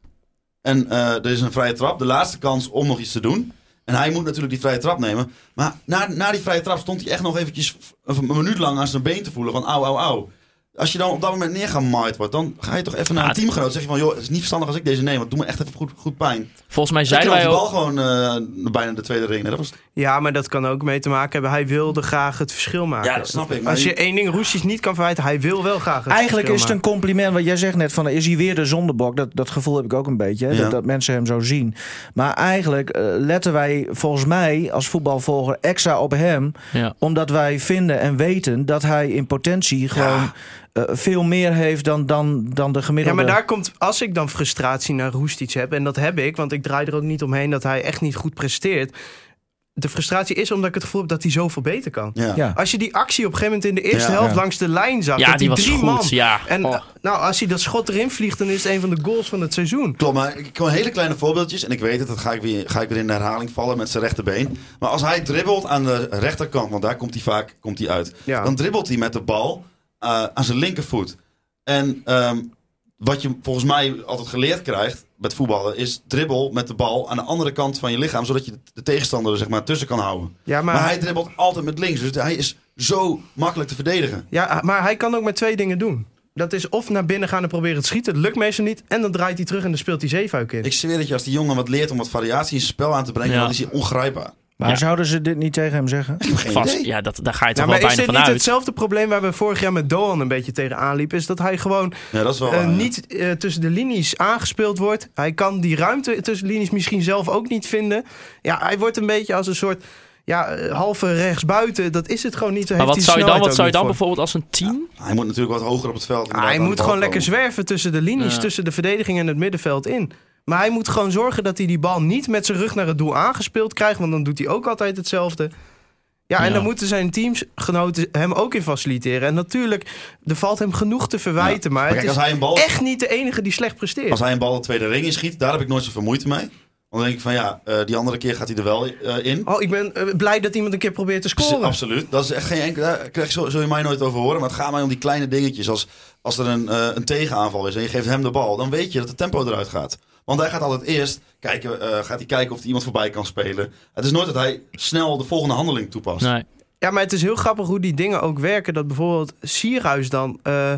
Speaker 7: En eh, er is een vrije trap. De laatste kans om nog iets te doen. En hij moet natuurlijk die vrije trap nemen. Maar na, na die vrije trap stond hij echt nog eventjes een minuut lang aan zijn been te voelen. Van au, au, au. Als je dan op dat moment neergemaaid wordt, dan ga je toch even naar
Speaker 4: Ah,
Speaker 7: een teamgenoot. Zeg je van, joh, het is niet verstandig als ik deze neem, want doe me echt even goed, goed pijn.
Speaker 4: Volgens mij
Speaker 7: Zij
Speaker 4: zeiden
Speaker 7: knalt
Speaker 4: wij
Speaker 7: die bal
Speaker 4: ook...
Speaker 7: gewoon eh, bijna de tweede ring. hè. Dat was,
Speaker 8: Ja, maar dat kan ook mee te maken hebben. Hij wilde graag het verschil maken.
Speaker 7: ja, dat snap ik. Maar
Speaker 8: Als je
Speaker 7: je,
Speaker 8: één ding Roestic niet kan verwijten, hij wil wel graag het
Speaker 5: Eigenlijk is het
Speaker 8: verschil
Speaker 5: een compliment, want jij zegt net van is hij weer de zondebok. Dat, dat gevoel heb ik ook een beetje, hè,
Speaker 7: Ja.
Speaker 5: dat, dat mensen hem zo zien. Maar eigenlijk eh, letten wij volgens mij als voetbalvolger extra op hem.
Speaker 4: Ja.
Speaker 5: Omdat wij vinden en weten dat hij in potentie gewoon eh, veel meer heeft dan, dan, dan de
Speaker 8: Ja,
Speaker 5: gemiddelde.
Speaker 8: maar daar komt, als ik dan frustratie naar Roestic heb, en dat heb ik, want ik draai er ook niet omheen dat hij echt niet goed presteert. De frustratie is omdat ik het gevoel heb dat hij zoveel beter kan.
Speaker 7: ja.
Speaker 5: Ja.
Speaker 8: Als je die actie op een gegeven moment in de eerste
Speaker 7: Ah. Ja.
Speaker 8: helft
Speaker 5: Ja.
Speaker 8: langs de lijn zag,
Speaker 4: Ja,
Speaker 8: dat
Speaker 4: die
Speaker 8: hij
Speaker 4: was
Speaker 8: drie
Speaker 4: goed,
Speaker 8: man.
Speaker 4: ja.
Speaker 8: En
Speaker 4: Oh.
Speaker 8: eh, nou, als hij dat schot erin vliegt, dan is het een van de goals van het seizoen.
Speaker 7: Klopt, maar ik kan hele kleine voorbeeldjes. En ik weet het, dat ga ik, weer, ga ik weer in de herhaling vallen met zijn rechterbeen. Maar als hij dribbelt aan de rechterkant, want daar komt hij vaak komt hij uit.
Speaker 8: Ja.
Speaker 7: Dan dribbelt hij met de bal eh, aan zijn linkervoet. En ehm, wat je volgens mij altijd geleerd krijgt met voetballen... is dribbel met de bal aan de andere kant van je lichaam... zodat je de tegenstander er zeg maar, tussen kan houden.
Speaker 8: Ja, maar,
Speaker 7: Maar, hij dribbelt altijd met links. Dus hij is zo makkelijk te verdedigen.
Speaker 8: ja, eh, maar hij kan ook maar twee dingen doen. Dat is of naar binnen gaan en proberen te schieten. Dat lukt meestal niet. En dan draait hij terug en dan speelt hij zeefuik in.
Speaker 7: Ik zweer dat je als die jongen wat leert om wat variatie in zijn spel aan te brengen...
Speaker 4: Ja.
Speaker 7: dan is hij ongrijpbaar.
Speaker 5: Maar
Speaker 4: Ja.
Speaker 5: zouden ze dit niet tegen hem zeggen?
Speaker 7: Ik heb geen
Speaker 4: Vast,
Speaker 7: idee.
Speaker 4: ja, dat, daar ga je toch
Speaker 8: Ja, maar
Speaker 4: wel
Speaker 8: is
Speaker 4: bijna
Speaker 8: dit niet
Speaker 4: vanuit.
Speaker 8: hetzelfde probleem waar we vorig jaar met Doan een beetje tegenaan liepen? Is dat hij gewoon
Speaker 7: Ja, dat is wel...
Speaker 8: eh,
Speaker 7: waar, Oh, ja.
Speaker 8: niet eh, tussen de linies aangespeeld wordt. Hij kan die ruimte tussen de linies misschien zelf ook niet vinden. Ja, hij wordt een beetje als een soort ja, eh, halve rechtsbuiten. Dat is het gewoon niet. Daar
Speaker 4: Maar
Speaker 8: heeft hij
Speaker 4: wat zou je dan,
Speaker 8: snelheid
Speaker 4: wat zou je dan
Speaker 8: ook niet voor.
Speaker 4: bijvoorbeeld als een team?
Speaker 7: Hij moet natuurlijk wat hoger op het veld.
Speaker 8: Ah,
Speaker 7: inderdaad,
Speaker 8: hij
Speaker 7: aan de
Speaker 8: moet
Speaker 7: bal
Speaker 8: gewoon lekker
Speaker 7: komen.
Speaker 8: zwerven tussen de linies,
Speaker 4: Ja.
Speaker 8: tussen de verdediging en het middenveld in. Maar hij moet gewoon zorgen dat hij die bal niet met zijn rug naar het doel aangespeeld krijgt. Want dan doet hij ook altijd hetzelfde. Ja, en
Speaker 4: Ja.
Speaker 8: dan moeten zijn teamsgenoten hem ook in faciliteren. En natuurlijk, er valt hem genoeg te verwijten. Maar,
Speaker 7: Maar
Speaker 8: het
Speaker 7: kijk,
Speaker 8: is
Speaker 7: als hij, een bal,
Speaker 8: echt niet de enige die slecht presteert.
Speaker 7: als hij een bal de tweede ring in schiet, daar heb ik nooit zoveel moeite mee. Want dan denk ik van ja, eh, die andere keer gaat hij er wel eh, in.
Speaker 8: Oh, ik ben eh, blij dat iemand een keer probeert te
Speaker 7: Dus,
Speaker 8: scoren.
Speaker 7: Absoluut. Dat is echt geen enkele. Daar krijg, zul, zul je mij nooit over horen. Maar het gaat mij om die kleine dingetjes. Als, als er een, eh, een tegenaanval is en je geeft hem de bal, dan weet je dat het tempo eruit gaat. Want hij gaat altijd eerst kijken, eh, gaat hij kijken of hij iemand voorbij kan spelen. Het is nooit dat hij snel de volgende handeling toepast.
Speaker 4: Nee.
Speaker 8: Ja, maar het is heel grappig hoe die dingen ook werken. Dat bijvoorbeeld Sierhuis dan eh,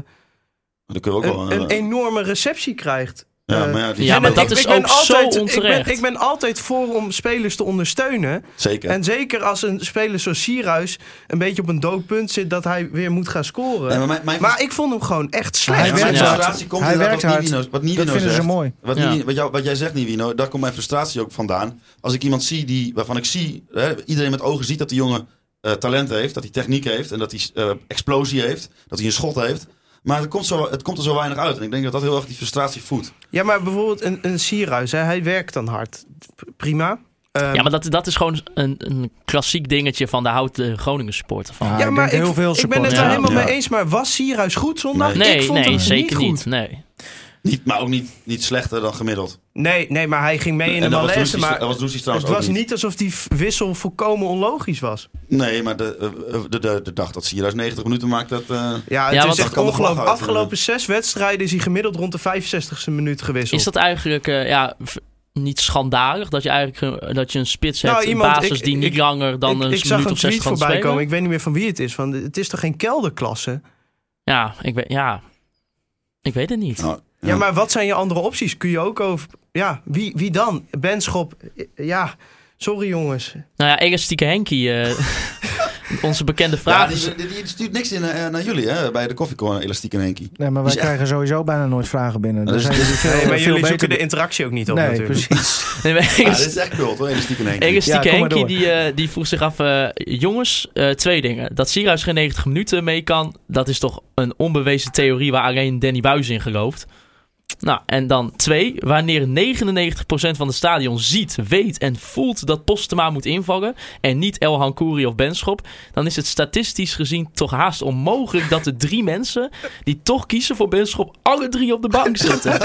Speaker 7: Dan kunnen we ook wel.
Speaker 8: een,
Speaker 7: eh,
Speaker 8: een enorme receptie krijgt.
Speaker 7: ja,
Speaker 8: eh,
Speaker 7: maar ja, die-
Speaker 4: Ja,
Speaker 8: En
Speaker 4: maar
Speaker 8: ik-
Speaker 4: dat
Speaker 8: ik
Speaker 4: is
Speaker 8: ben
Speaker 4: ook zo
Speaker 8: ik ben,
Speaker 4: onterecht.
Speaker 8: ik ben altijd voor om spelers te ondersteunen.
Speaker 7: zeker.
Speaker 8: En zeker als een speler zoals Sierhuis een beetje op een doodpunt zit dat hij weer moet gaan scoren.
Speaker 7: Nee,
Speaker 8: maar,
Speaker 7: maar mijn, mijn
Speaker 8: ik vond hem gewoon echt
Speaker 5: Hij
Speaker 8: slecht.
Speaker 7: Ja, mijn
Speaker 5: werkt hard.
Speaker 7: frustratie komt
Speaker 5: Hij
Speaker 7: inderdaad
Speaker 5: werkt
Speaker 7: wat
Speaker 5: hard.
Speaker 7: Nivino, wat Nivino
Speaker 5: Dat vinden ze
Speaker 7: zegt.
Speaker 5: mooi.
Speaker 7: Wat,
Speaker 4: Ja.
Speaker 7: Nivino- wat, jou- wat jij zegt, Nivino, daar komt mijn frustratie ook vandaan. Als ik iemand zie die, waarvan ik zie, hè, iedereen met ogen ziet dat die jongen eh, talent heeft, dat hij techniek heeft en dat hij eh, explosie heeft, dat hij een schot heeft. Maar het komt, zo, het komt er zo weinig uit. En ik denk dat dat heel erg die frustratie voedt.
Speaker 8: Ja, maar bijvoorbeeld een, een Sierhuis, hè, hij werkt dan hard. P- Prima. Ehm,
Speaker 4: Ja, maar dat, dat is gewoon een, een klassiek dingetje van de houdt de Groningen supporter van.
Speaker 5: Ja, Nou, ik denk heel veel
Speaker 8: ik ben het
Speaker 5: supporters.
Speaker 8: er
Speaker 4: Ja.
Speaker 8: helemaal
Speaker 7: Ja.
Speaker 8: mee eens, maar was Sierhuis goed zondag?
Speaker 4: Nee,
Speaker 8: ik vond
Speaker 4: nee,
Speaker 8: hem
Speaker 4: zeker
Speaker 8: niet.
Speaker 4: niet.
Speaker 8: goed.
Speaker 4: Nee.
Speaker 7: Niet, maar ook niet, niet slechter dan gemiddeld.
Speaker 8: Nee, nee, maar hij ging mee in de
Speaker 7: en dat was
Speaker 8: malaise.
Speaker 7: Doesie
Speaker 8: Maar
Speaker 7: dat was Doesie
Speaker 8: het
Speaker 7: trouwens ook
Speaker 8: was
Speaker 7: niet.
Speaker 8: niet alsof die v- wissel volkomen onlogisch was.
Speaker 7: Nee, maar de, eh, de, de, de dag dat Sierhuis 90 minuten maakt, dat... eh,
Speaker 8: Ja, het
Speaker 4: Ja, want
Speaker 8: is echt
Speaker 4: dat
Speaker 7: kan de vlag
Speaker 8: ongelooflijk.
Speaker 7: uit,
Speaker 8: Afgelopen zes wedstrijden is hij gemiddeld rond de 65ste minuut gewisseld.
Speaker 4: Is dat eigenlijk eh, ja, v- niet schandalig dat je eigenlijk eh, dat je een spits
Speaker 8: Nou,
Speaker 4: hebt,
Speaker 8: iemand-
Speaker 4: een basis
Speaker 8: ik-
Speaker 4: die niet
Speaker 8: ik-
Speaker 4: langer dan
Speaker 8: ik,
Speaker 4: een
Speaker 8: ik zag
Speaker 4: minuut
Speaker 8: een
Speaker 4: of zes
Speaker 8: tweet
Speaker 4: kan
Speaker 8: voorbij
Speaker 4: spelen?
Speaker 8: komen. Ik weet niet meer van wie het is. Van, het is toch geen kelderklasse?
Speaker 4: Ja, ik weet, ja, ik weet het niet.
Speaker 7: nou,
Speaker 8: Ja. maar wat zijn je andere opties? Kun je ook over... Ja, wie, wie dan? Benschop? Ja, sorry jongens.
Speaker 4: Nou ja, elastieke Henkie, eh, onze bekende
Speaker 7: ja,
Speaker 4: vraag is. dus-
Speaker 7: die, die- die stuurt niks in, eh, naar jullie, hè, bij de koffiecorner, Elastiek en Henkie.
Speaker 5: Nee, maar wij
Speaker 7: Dus-
Speaker 5: krijgen sowieso bijna nooit vragen binnen.
Speaker 7: Dat
Speaker 5: Daar
Speaker 7: is-
Speaker 5: zijn jullie veel,
Speaker 8: Nee, maar
Speaker 5: veel
Speaker 8: jullie
Speaker 5: beter
Speaker 8: zoeken de
Speaker 5: in.
Speaker 8: interactie ook niet op
Speaker 5: Nee,
Speaker 8: natuurlijk.
Speaker 5: precies.
Speaker 4: Nee, maar
Speaker 7: Ja,
Speaker 4: Elas-
Speaker 7: dit is echt cult hoor, Elastiek en Henkie.
Speaker 4: Elastieke
Speaker 5: Ja, kom maar
Speaker 4: Henkie
Speaker 5: door.
Speaker 4: die, eh, die vroeg zich af, eh, jongens, eh, twee dingen. Dat Sierhuis geen 90 minuten mee kan, dat is toch een onbewezen theorie waar alleen Danny Buis in gelooft. Nou, en dan twee, wanneer 99% van het stadion ziet, weet en voelt dat Postema moet invallen en niet El Hankouri of Benschop, dan is het statistisch gezien toch haast onmogelijk dat de drie mensen die toch kiezen voor Benschop alle drie op de bank zitten.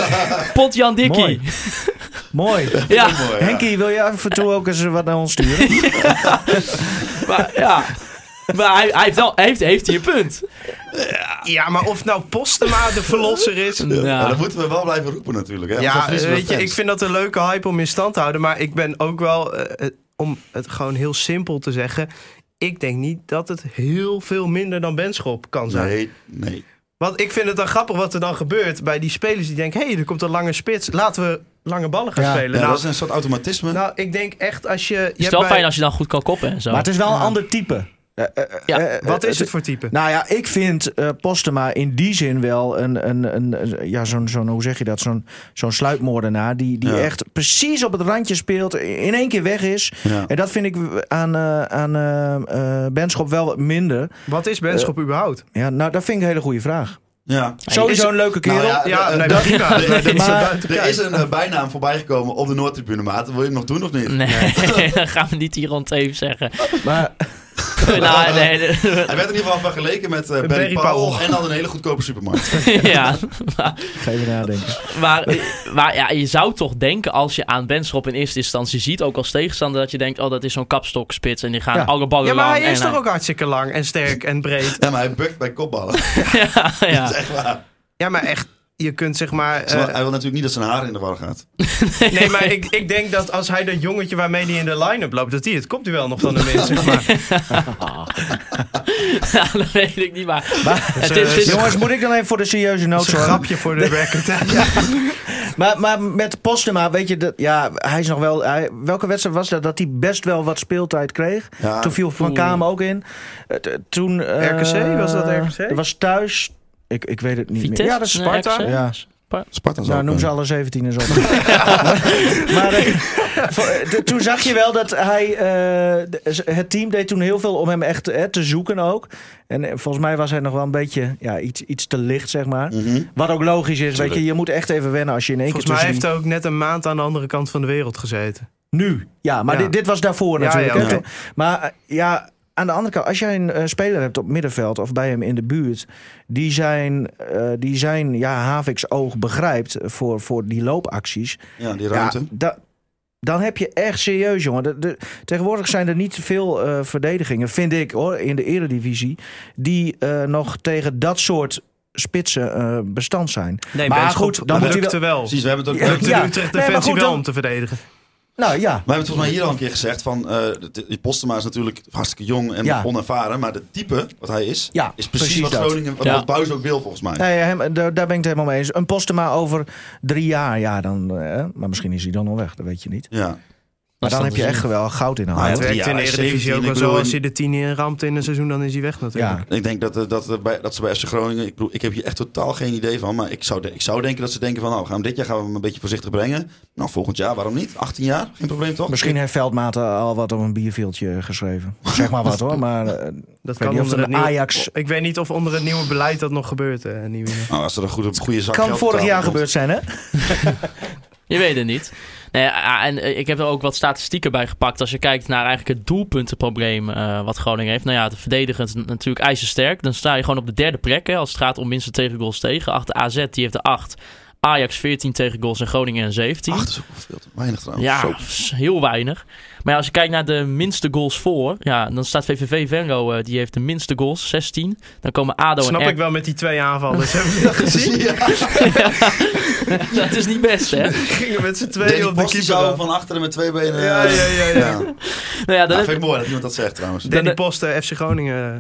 Speaker 4: Pot Jan Dikkie.
Speaker 5: Mooi. Mooi.
Speaker 4: Ja,
Speaker 7: Mooi, ja.
Speaker 5: Henkie, wil je af en toe ook eens wat naar ons sturen?
Speaker 4: maar, ja. maar hij, hij heeft, wel, hij heeft, heeft hij een punt.
Speaker 8: Ja, maar of nou Postema de verlosser is.
Speaker 4: Ja.
Speaker 7: Maar dat moeten we wel blijven roepen natuurlijk. Hè? want
Speaker 8: Ja, eh,
Speaker 7: dat is wel
Speaker 8: weet je,
Speaker 7: fans.
Speaker 8: ik vind dat een leuke hype om in stand te houden. Maar ik ben ook wel, eh, eh, om het gewoon heel simpel te zeggen. Ik denk niet dat het heel veel minder dan Benschop kan zijn.
Speaker 7: Nee, nee.
Speaker 8: Want ik vind het dan grappig wat er dan gebeurt bij die spelers die denken... hé, hey, er komt een lange spits, laten we lange ballen gaan
Speaker 5: Ja.
Speaker 8: spelen.
Speaker 7: Ja, dat
Speaker 8: nou,
Speaker 7: is een soort automatisme.
Speaker 8: nou, ik denk echt als je... je
Speaker 4: Het is
Speaker 8: hebt
Speaker 4: wel
Speaker 8: bij-
Speaker 4: fijn als je dan goed kan koppen en zo.
Speaker 5: Maar het is wel een ander type. Eh,
Speaker 4: Ja,
Speaker 8: Wat
Speaker 7: Eh,
Speaker 8: is eh, het voor type?
Speaker 5: Nou ja, ik vind eh, Postema in die zin wel een, een, een ja, zo'n, zo'n, hoe zeg je dat, zo'n, zo'n sluipmoordenaar die, die
Speaker 7: Ja.
Speaker 5: echt precies op het randje speelt, in één keer weg is.
Speaker 7: Ja.
Speaker 5: En dat vind ik aan, eh, aan eh, eh, Benschop wel wat minder.
Speaker 8: Wat is Benschop
Speaker 7: eh,
Speaker 8: überhaupt?
Speaker 5: Ja, nou, dat vind ik een hele goede vraag.
Speaker 7: Ja.
Speaker 5: Sowieso een leuke kerel.
Speaker 7: Nou ja,
Speaker 8: Ja,
Speaker 7: eh,
Speaker 8: nee,
Speaker 7: dat-
Speaker 8: prima.
Speaker 7: er- er-
Speaker 5: Maar-
Speaker 7: er- Er is een eh, bijnaam voorbijgekomen op de Noordtribune, maat. Wil je hem nog doen of niet?
Speaker 4: Nee, dat gaan we niet hier rond even zeggen.
Speaker 5: Maar
Speaker 4: nou, nee, nee,
Speaker 7: Hij werd in ieder geval vergeleken met eh, Barry,
Speaker 8: Barry
Speaker 7: Powell,
Speaker 8: Powell.
Speaker 7: en had een hele goedkope supermarkt.
Speaker 4: ja.
Speaker 5: ga even nadenken.
Speaker 4: Maar, maar ja, je zou toch denken als je aan Benschop in eerste instantie ziet, ook als tegenstander, dat je denkt, oh dat is zo'n kapstokspits en die gaan
Speaker 5: Ja.
Speaker 4: alle ballen
Speaker 8: Ja, maar
Speaker 4: lang
Speaker 8: hij is
Speaker 4: en
Speaker 8: toch ook hartstikke lang en sterk en breed.
Speaker 7: ja, maar hij bukt bij kopballen.
Speaker 4: Ja, ja.
Speaker 7: Dat is echt waar.
Speaker 8: Ja, maar echt, je kunt zeg maar... eh,
Speaker 7: Terwijl hij wil natuurlijk niet dat zijn haar in de war gaat.
Speaker 8: nee, maar ik, ik denk dat als hij dat jongetje waarmee hij in de line-up loopt... dat die het komt hij wel nog van de minst, zeg maar.
Speaker 4: Ah. Ja, dat weet ik niet, maar het is... het is-
Speaker 5: Jongens, moet ik dan even voor de serieuze noot
Speaker 8: Dat is een
Speaker 5: zorgen?
Speaker 8: grapje voor de record. Ja.
Speaker 5: Maar, maar met Postema, weet je, dat, ja, hij is nog wel. Hij, welke wedstrijd was dat? Dat hij best wel wat speeltijd kreeg.
Speaker 8: Ah,
Speaker 7: Ja.
Speaker 5: Toen viel Van
Speaker 4: Oeh.
Speaker 5: Kamer ook in. Eh, t- toen, eh,
Speaker 8: RKC? Was dat RKC?
Speaker 5: Dat was thuis. Ik, ik weet het niet
Speaker 4: Vitesse?
Speaker 5: meer. Ja, dat is Sparta.
Speaker 4: Nee, RKC?
Speaker 5: ja.
Speaker 7: Sparta eh,
Speaker 5: Nou, noem ze alle 17 en zo. maar eh, voor- eh, t- toen zag je wel dat hij... eh, de- het team deed toen heel veel om hem echt eh, te zoeken ook. En eh, volgens mij was hij nog wel een beetje ja, iets, iets te licht, zeg maar. Wat ook logisch is, weet je. Je moet echt even wennen als je in één
Speaker 8: Volgens
Speaker 5: keer
Speaker 8: mij
Speaker 5: tussen
Speaker 8: heeft hij ook net een maand aan de andere kant van de wereld gezeten.
Speaker 5: die- Nu. Ja, maar
Speaker 8: Ja.
Speaker 5: Dit, dit was daarvoor
Speaker 8: Ja,
Speaker 5: natuurlijk.
Speaker 8: ja,
Speaker 5: hè,
Speaker 8: oké.
Speaker 5: toen. Maar eh, ja... Aan de andere kant, als jij een eh, speler hebt op middenveld of bij hem in de buurt, die zijn, eh, die zijn ja, Havik's oog begrijpt voor, voor die loopacties,
Speaker 7: Ja, die ruimte.
Speaker 5: ja, da- dan heb je echt serieus, jongen. De, de- tegenwoordig zijn er niet veel eh, verdedigingen, vind ik hoor, in de eredivisie, die eh, nog tegen dat soort spitsen eh, bestand zijn.
Speaker 8: Nee,
Speaker 5: Maar goed, dan moet hij
Speaker 8: lukte wel.
Speaker 7: Precies, we hebben het ook...
Speaker 5: Ja.
Speaker 7: we hebben
Speaker 8: Lukte
Speaker 7: het-
Speaker 8: de Utrecht
Speaker 5: Nee, maar
Speaker 8: Defensie
Speaker 5: goed,
Speaker 8: wel
Speaker 5: dan-
Speaker 8: om te verdedigen.
Speaker 5: Nou ja,
Speaker 7: We hebben het volgens mij hier al een keer gezegd van... eh, de- die Postema is natuurlijk hartstikke jong en
Speaker 5: Ja.
Speaker 7: onervaren. Maar de type, wat hij is,
Speaker 5: Ja,
Speaker 7: is precies,
Speaker 5: precies
Speaker 7: wat
Speaker 5: dat.
Speaker 7: Groningen... Wat
Speaker 4: Ja.
Speaker 7: wat Buijs ook wil, volgens mij.
Speaker 5: nee, hem, daar, daar ben ik het helemaal mee eens. Een Postema over drie jaar, ja, dan, eh, maar misschien is hij dan al weg, dat weet je niet.
Speaker 7: Ja.
Speaker 5: Maar dan
Speaker 4: dat
Speaker 5: heb je
Speaker 4: is-
Speaker 5: echt wel goud in de
Speaker 7: Maar
Speaker 5: hand.
Speaker 8: het
Speaker 7: ja,
Speaker 8: werkt
Speaker 7: ja,
Speaker 8: in de Eredivisie
Speaker 7: 17,
Speaker 8: ook
Speaker 7: ik
Speaker 8: wel zo.
Speaker 7: bedoel,
Speaker 8: Als
Speaker 7: in-
Speaker 8: hij de tien in ramt in een seizoen, dan is hij weg natuurlijk.
Speaker 5: Ja.
Speaker 7: Ik denk dat, eh, dat, eh, bij, dat ze bij FC Groningen... Ik, bedoel, ik heb hier echt totaal geen idee van. Maar ik zou, de- ik zou denken dat ze denken van... Nou, we gaan hem dit jaar gaan we hem een beetje voorzichtig brengen. Nou, volgend jaar, waarom niet? 18 jaar, geen probleem toch?
Speaker 5: Misschien heeft Veldmaten al wat op een bierveeltje geschreven. Zeg maar wat hoor, maar eh,
Speaker 8: Dat
Speaker 5: weet
Speaker 8: kan
Speaker 5: niet
Speaker 8: onder
Speaker 5: of er
Speaker 8: het
Speaker 5: een
Speaker 8: nieuwe- Oh,
Speaker 5: Ajax-
Speaker 8: Ik weet niet of onder het nieuwe beleid dat nog gebeurt. eh, nieuwe.
Speaker 7: Nou, als er een goede, goede zak
Speaker 5: kan
Speaker 7: geld
Speaker 5: vorig
Speaker 7: betaald
Speaker 5: jaar gebeurd
Speaker 7: wordt.
Speaker 5: zijn, hè?
Speaker 4: Je weet het niet. Nee, ja, en eh, ik heb er ook wat statistieken bij gepakt. Als je kijkt naar eigenlijk het doelpuntenprobleem eh, wat Groningen heeft. Nou ja, het verdedigend is natuurlijk ijzersterk. Dan sta je gewoon op de derde plek hè, als het gaat om minste tegengoals tegen. Achter AZ, die heeft er 8. Ajax 14 tegengoals en Groningen een 17.
Speaker 7: Ach, dat is ook wel veel te weinig trouwens.
Speaker 4: Ja,
Speaker 7: Oh, Zo.
Speaker 4: s- heel weinig. Maar ja, als je kijkt naar de minste goals voor, ja, dan staat VVV Venlo, eh, die heeft de minste goals, 16. Dan komen ADO
Speaker 8: Snap
Speaker 4: en
Speaker 8: ik wel met die twee aanvallers. Hebben jullie dat gezien?
Speaker 4: Dat is niet best, hè? Nou
Speaker 8: Gingen met z'n tweeën
Speaker 7: Danny
Speaker 8: op de
Speaker 7: Post die
Speaker 8: keeper.
Speaker 7: zou
Speaker 8: dan.
Speaker 7: van achteren met twee benen...
Speaker 8: Ja,
Speaker 7: eh,
Speaker 8: ja, ja, ja.
Speaker 7: ja.
Speaker 4: Nou ja,
Speaker 7: Ja,
Speaker 4: dat
Speaker 7: vind ik mooi dat iemand dat zegt trouwens.
Speaker 8: Danny
Speaker 4: Dan-
Speaker 8: Post, eh, FC Groningen eh,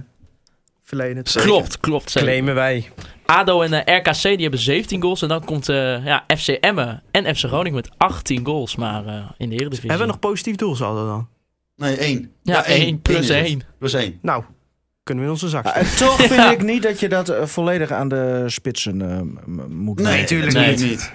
Speaker 8: verleden.
Speaker 4: klopt, klopt. zeker.
Speaker 8: Claimen wij.
Speaker 4: ADO en eh, RKC, die hebben 17 goals. En dan komt eh, ja, FC Emmen en FC Groningen met 18 goals, maar eh, in de Eredivisie.
Speaker 8: Hebben we nog positief doelsaldo dan?
Speaker 7: Nee, één.
Speaker 4: Ja, één plus
Speaker 7: is het.
Speaker 4: één. dus.
Speaker 7: Plus één.
Speaker 8: Nou, kunnen we in onze zak
Speaker 5: Ja,
Speaker 8: steken.
Speaker 5: en Eh, toch vind ik niet dat je dat eh, volledig aan de spitsen eh, m- moet
Speaker 7: Nee,
Speaker 5: wijten.
Speaker 7: natuurlijk
Speaker 8: tuurlijk
Speaker 7: nee.
Speaker 4: niet.
Speaker 7: niet.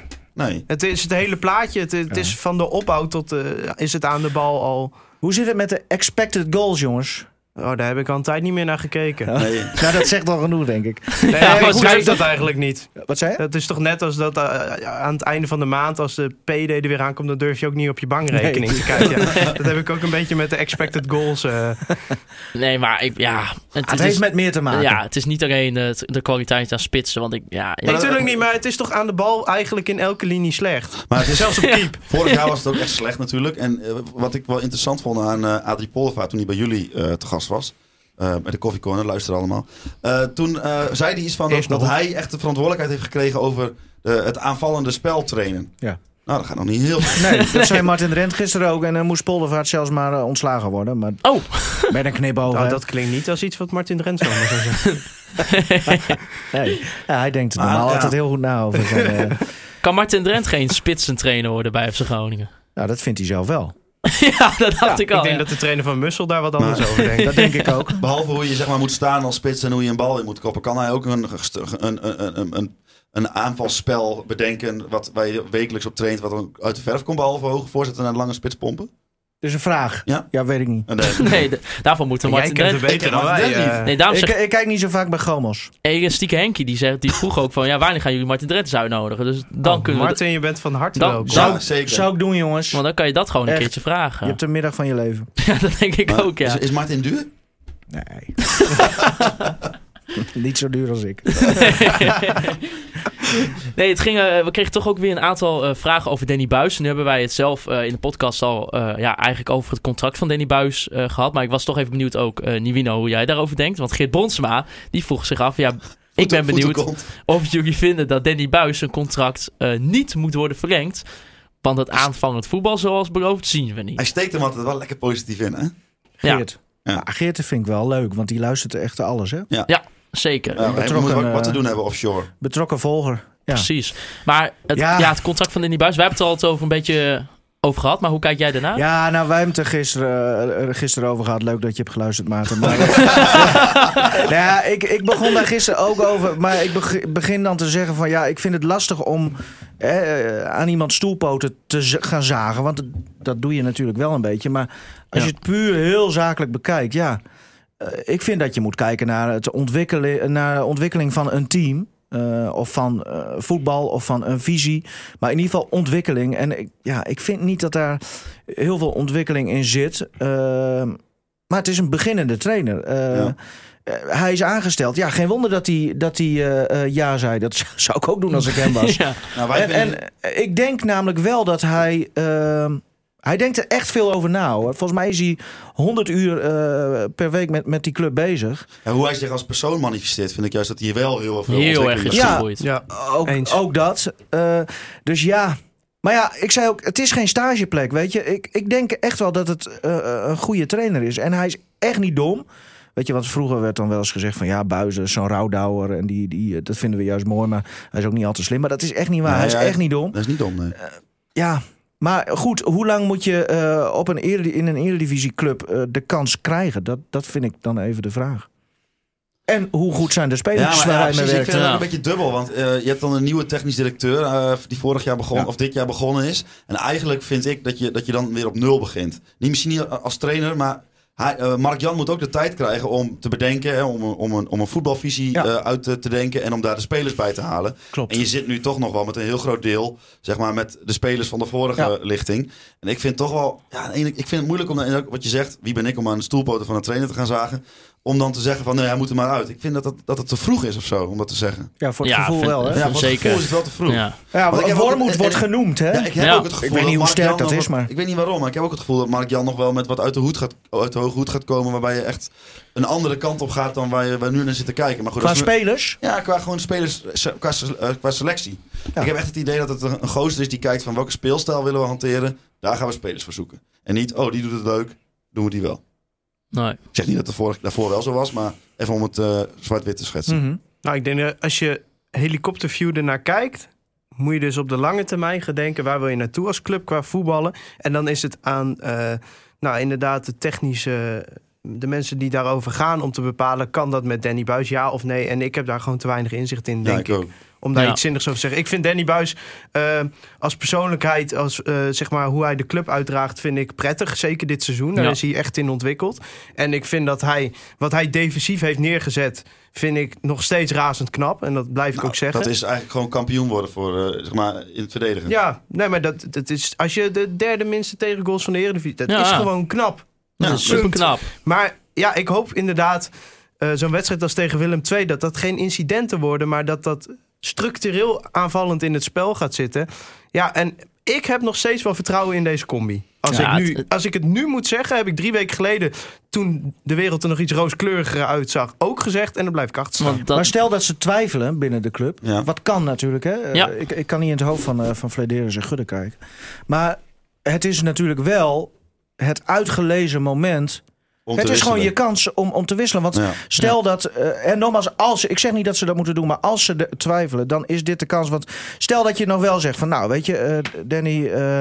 Speaker 7: Nee.
Speaker 8: Het is het hele plaatje. Het, het is van de opbouw tot eh, is het aan de bal al.
Speaker 5: Hoe zit het met de expected goals, jongens?
Speaker 8: Oh, daar heb ik al een tijd niet meer naar gekeken.
Speaker 7: Nee.
Speaker 5: Nou, dat zegt al genoeg, denk ik.
Speaker 8: Nee,
Speaker 4: Ja, maar
Speaker 8: ik
Speaker 4: schrijf
Speaker 8: schrijf
Speaker 4: dat-
Speaker 8: dat eigenlijk niet.
Speaker 5: Wat zei je?
Speaker 8: Dat is toch net als dat eh, aan het einde van de maand, als de PD er weer aankomt, dan durf je ook niet op je bankrekening
Speaker 5: Nee.
Speaker 8: te kijken. Dat heb ik ook een beetje met de expected goals. eh.
Speaker 4: Nee, maar ik, ja, het, het
Speaker 5: Het
Speaker 4: is,
Speaker 5: Ah,
Speaker 4: dus-
Speaker 5: heeft met meer te maken.
Speaker 4: ja, het is niet alleen eh, de, de kwaliteit aan spitsen. Want ik, ja, ja.
Speaker 8: Nee, natuurlijk niet, maar het is toch aan de bal eigenlijk in elke linie slecht.
Speaker 7: Maar het is
Speaker 8: Zelfs op keep.
Speaker 7: Vorig jaar was het ook echt slecht natuurlijk. En eh, wat ik wel interessant vond aan eh, Adrie Polvaart toen hij bij jullie eh, te gast was. eh, bij de Coffee Corner, luister allemaal. Eh, toen eh, zei hij iets van dat,
Speaker 8: Eerst nog.
Speaker 7: dat hij echt de verantwoordelijkheid heeft gekregen over eh, het aanvallende spel trainen.
Speaker 5: Ja.
Speaker 7: Nou, dat gaat nog niet heel goed.
Speaker 5: Nee, dat zei Martin Rent gisteren ook. En dan moest Poldervaart zelfs maar eh, ontslagen worden. Maar
Speaker 4: Oh,
Speaker 5: met een knipoog.
Speaker 8: Nou,
Speaker 5: hè.
Speaker 8: dat klinkt niet als iets wat Martin Drent zou maar zeggen.
Speaker 5: Nee. Ah, Ja, hij denkt het
Speaker 7: Maar,
Speaker 5: normaal
Speaker 7: ja.
Speaker 5: altijd heel goed na over. Van, eh,
Speaker 4: kan Martin Drent geen spitsentrainer worden bij FC Groningen?
Speaker 5: nou, dat vindt hij zelf wel.
Speaker 4: ja, dat dacht ik
Speaker 8: Ik
Speaker 4: al.
Speaker 8: denk
Speaker 4: ja.
Speaker 8: dat de trainer van Mussel daar wat anders over denkt.
Speaker 5: Dat denk ik ook.
Speaker 7: Behalve hoe je zeg maar, moet staan als spits en hoe je een bal in moet koppen, kan hij ook een, gest- een, een, een, een, een aanvalsspel bedenken wat, waar je wekelijks op traint, wat dan uit de verf komt, behalve hoge voorzetten naar lange spits pompen.
Speaker 5: Dus een vraag.
Speaker 7: Ja.
Speaker 5: weet ik niet.
Speaker 7: En, eh,
Speaker 4: Nee, d- daarvoor moeten
Speaker 8: Jij
Speaker 4: Martin
Speaker 8: kent het
Speaker 4: Drent...
Speaker 7: Ik ken
Speaker 8: beter dan
Speaker 7: Martin
Speaker 8: wij.
Speaker 7: Drent
Speaker 8: eh.
Speaker 7: niet.
Speaker 4: Nee, daarom
Speaker 5: Ik,
Speaker 4: zegt
Speaker 5: ik kijk niet zo vaak bij Gomos.
Speaker 4: hey, Stieke Henkie, die, zegt, die vroeg ook van... Ja, wanneer gaan jullie Martin Drent eens uitnodigen? Dus dan
Speaker 8: Oh,
Speaker 4: kunnen we...
Speaker 8: Martin, je bent van harte
Speaker 4: Dan-
Speaker 8: welkom.
Speaker 7: ja,
Speaker 5: Zou-
Speaker 7: zeker.
Speaker 5: Zou ik doen, jongens.
Speaker 4: d- Want dan kan je dat gewoon een
Speaker 5: Echt.
Speaker 4: keertje
Speaker 5: Je
Speaker 4: vragen.
Speaker 5: hebt de middag van je leven.
Speaker 4: Ja, dat denk ik
Speaker 7: Maar
Speaker 4: ook, ja.
Speaker 7: is, is Martin duur?
Speaker 5: Nee. niet zo duur als ik.
Speaker 4: nee, het ging, eh, we kregen toch ook weer een aantal eh, vragen over Danny Buis. Nu hebben wij het zelf eh, in de podcast al eh, ja, eigenlijk over het contract van Danny Buis eh, gehad. Maar ik was toch even benieuwd ook, eh Nivino, hoe jij daarover denkt. Want Geert Bronsma, die vroeg zich af... Ja, ik ben
Speaker 7: Voeten-
Speaker 4: benieuwd
Speaker 7: voetenkont.
Speaker 4: of jullie vinden dat Danny Buis zijn contract eh, niet moet worden verlengd. Want het aanvallend voetbal, zoals beloofd, zien we
Speaker 7: Hij
Speaker 4: niet.
Speaker 7: steekt hem altijd wel lekker positief in, hè?
Speaker 4: Ja.
Speaker 5: Geert.
Speaker 7: Ja.
Speaker 5: Maar Geert vind ik wel leuk, want die luistert echt naar alles. Hè?
Speaker 4: Zeker,
Speaker 7: Ja, hij
Speaker 5: betrokken,
Speaker 7: moet wat,
Speaker 5: eh,
Speaker 7: wat te doen hebben offshore.
Speaker 5: Betrokken volger. Ja.
Speaker 4: precies. Maar het, ja.
Speaker 5: Ja.
Speaker 4: het contract van Danny Buis, wij hebben het er al over een beetje eh, over gehad. Maar hoe kijk jij daarna?
Speaker 5: Ja, nou, wij hebben het er gisteren, eh, er gisteren over gehad. Leuk dat je hebt geluisterd, Maarten. Maar, nou ja, ik, ik begon daar gisteren ook over. Maar ik beg- begin dan te zeggen van... Ja, ik vind het lastig om eh, aan iemand stoelpoten te z- gaan zagen. Want dat- dat doe je natuurlijk wel een beetje. Maar als je het puur heel zakelijk bekijkt, ja... eh, ik vind dat je moet kijken naar, het ontwikkelen, naar de ontwikkeling van een team... eh, of van eh, voetbal of van een visie. Maar in ieder geval ontwikkeling. En ik, ja, ik vind niet dat daar heel veel ontwikkeling in zit. Ehm, maar het is een beginnende trainer. Eh,
Speaker 7: Ja.
Speaker 5: eh, Hij is aangesteld. Ja, geen wonder dat hij, dat hij eh, eh, ja zei. Dat zou ik ook doen als ik hem was.
Speaker 4: Ja.
Speaker 7: Nou, wij
Speaker 5: En,
Speaker 7: vinden-
Speaker 5: en eh, ik denk namelijk wel dat hij. ehm, hij denkt er echt veel over na hoor. Volgens mij is hij 100 uur eh, per week met, met die club bezig.
Speaker 7: en hoe hij zich als persoon manifesteert, vind ik juist dat hij wel heel veel
Speaker 4: Heel erg
Speaker 7: ontwikkeling
Speaker 4: is
Speaker 7: laat
Speaker 5: Ja.
Speaker 4: gegroeid.
Speaker 8: Ja,
Speaker 5: Ook,
Speaker 8: Eens.
Speaker 5: ook dat. Eh, dus ja. Maar ja, ik zei ook, het is geen stageplek, weet je. Ik, ik denk echt wel dat het eh, eh, een goede trainer is. En hij is echt niet dom. Weet je, want vroeger werd dan wel eens gezegd van... ja, Buizen is zo'n rouwdouwer en die, die, eh, dat vinden we juist mooi... maar hij is ook niet al te slim. Maar dat is echt niet waar.
Speaker 7: Nee,
Speaker 5: hij is
Speaker 7: hij-
Speaker 5: echt niet dom.
Speaker 7: zien. Dat is niet dom, nee.
Speaker 5: Ja, maar goed, hoe lang moet je eh, op een eredi- in een eredivisieclub eh de kans krijgen? Dat, dat vind ik dan even de vraag. En hoe goed zijn de
Speaker 7: Ja,
Speaker 5: spelers
Speaker 7: maar ja,
Speaker 5: waar hij
Speaker 7: precies,
Speaker 5: mee
Speaker 7: ik
Speaker 5: werkt?
Speaker 7: vind het ook
Speaker 4: Ja.
Speaker 7: een beetje dubbel. Want eh, je hebt dan een nieuwe technisch directeur eh, die vorig jaar begon,
Speaker 5: Ja.
Speaker 7: of dit jaar begonnen is. En eigenlijk vind ik dat je, dat je dan weer op nul begint. Niet misschien niet als trainer, maar hij, eh, Mark Jan moet ook de tijd krijgen om te bedenken, hè, om, een- om, een, om een voetbalvisie
Speaker 5: Ja.
Speaker 7: eh, uit te, te denken en om daar de spelers bij te halen.
Speaker 5: Klopt.
Speaker 7: En je zit nu toch nog wel met een heel groot deel, zeg maar, met de spelers van de vorige
Speaker 5: Ja.
Speaker 7: lichting. En ik vind toch wel, ja, aan de ene- ik vind het moeilijk om, en ook wat je zegt, wie ben ik om aan de stoelpoten van een trainer te gaan zagen, om dan te zeggen van, nee, hij moet er maar uit. Ik vind dat, dat, dat het te vroeg is of zo, om dat te zeggen.
Speaker 5: Ja, voor het
Speaker 4: Ja,
Speaker 5: gevoel
Speaker 4: vind-
Speaker 5: wel, hè?
Speaker 4: Ja,
Speaker 7: Ja, voor het
Speaker 4: zeker.
Speaker 7: gevoel is het wel te vroeg.
Speaker 4: Ja.
Speaker 5: Ja,
Speaker 7: Want ik heb ook-
Speaker 5: Wormoed
Speaker 7: en-
Speaker 5: wordt
Speaker 7: en-
Speaker 5: genoemd, hè?
Speaker 7: Ja, ik heb
Speaker 4: Ja.
Speaker 7: ook het gevoel
Speaker 5: Ik weet niet hoe
Speaker 7: dat Mark
Speaker 5: sterk
Speaker 7: Jan
Speaker 5: dat
Speaker 7: nog
Speaker 5: is,
Speaker 7: wat-
Speaker 5: maar-
Speaker 7: Ik weet niet waarom, maar ik heb ook het gevoel dat Mark Jan nog wel met wat uit de, hoed gaat, uit de hoge hoed gaat komen... waarbij je echt een andere kant op gaat dan waar, je, waar nu naar zit te kijken. Maar goed,
Speaker 5: Qua
Speaker 7: als we-
Speaker 5: spelers?
Speaker 7: Ja, qua gewoon spelers, se- qua, se- eh, qua selectie.
Speaker 5: Ja.
Speaker 7: Ik heb echt het idee dat het een, een gozer is die kijkt van welke speelstijl willen we hanteren. Daar gaan we spelers voor zoeken. En niet, oh, die doet het leuk, doen we die wel.
Speaker 4: Nee.
Speaker 7: Ik zeg niet dat het vorige, daarvoor wel zo was, maar even om het eh, zwart-wit te schetsen.
Speaker 5: Mhm.
Speaker 8: nou ik denk dat als je helikopterview ernaar kijkt, moet je dus op de lange termijn gaan denken waar wil je naartoe als club qua voetballen. En dan is het aan, eh, nou inderdaad, de technische de mensen die daarover gaan om te bepalen... kan dat met Danny Buis ja of nee? En ik heb daar gewoon te weinig inzicht in, denk ik.
Speaker 7: ook.
Speaker 8: Om daar
Speaker 4: Ja.
Speaker 8: iets zinnigs over te zeggen. Ik vind Danny Buis eh, als persoonlijkheid, als, eh, zeg maar, hoe hij de club uitdraagt, vind ik prettig. Zeker dit seizoen. Daar
Speaker 4: Ja.
Speaker 8: is hij echt in ontwikkeld. En ik vind dat hij, wat hij defensief heeft neergezet, vind ik nog steeds razend knap. En dat blijf ik
Speaker 7: Nou,
Speaker 8: ook zeggen.
Speaker 7: Dat is eigenlijk gewoon kampioen worden voor, eh, zeg maar, in het verdedigen.
Speaker 8: Ja, nee, maar dat, dat is, als je de derde minste tegengoals van de Eredivisie, dat
Speaker 4: Ja.
Speaker 8: is gewoon knap.
Speaker 4: Dat
Speaker 7: Ja,
Speaker 4: is super knap.
Speaker 8: Maar ja, ik hoop inderdaad eh, zo'n wedstrijd als tegen Willem II... dat dat geen incidenten worden, maar dat dat structureel aanvallend in het spel gaat zitten. Ja, en ik heb nog steeds wel vertrouwen in deze combi. Als,
Speaker 4: Ja,
Speaker 8: ik, nu,
Speaker 4: het-
Speaker 8: als ik het nu moet zeggen, heb ik drie weken geleden... toen de wereld er nog iets rooskleuriger uitzag, ook gezegd. En dan blijf ik achter staan.
Speaker 4: Want dat,
Speaker 5: Maar stel dat ze twijfelen binnen de club.
Speaker 7: Ja.
Speaker 5: Wat kan natuurlijk. Hè? Eh,
Speaker 4: Ja.
Speaker 5: ik, ik kan niet in het hoofd van, eh van Flederis en Gudde kijken. Maar het is natuurlijk wel het uitgelezen moment.
Speaker 7: Om
Speaker 5: Het
Speaker 7: te
Speaker 5: is gewoon je
Speaker 7: wisselen.
Speaker 5: kans om, om te wisselen. Want
Speaker 7: Ja.
Speaker 5: stel dat. eh, en nogmaals, als, ze- ik zeg niet dat ze dat moeten doen. Maar als ze de, twijfelen, dan is dit de kans. Want stel dat je nog wel zegt van. Nou, weet je, eh, Danny. eh,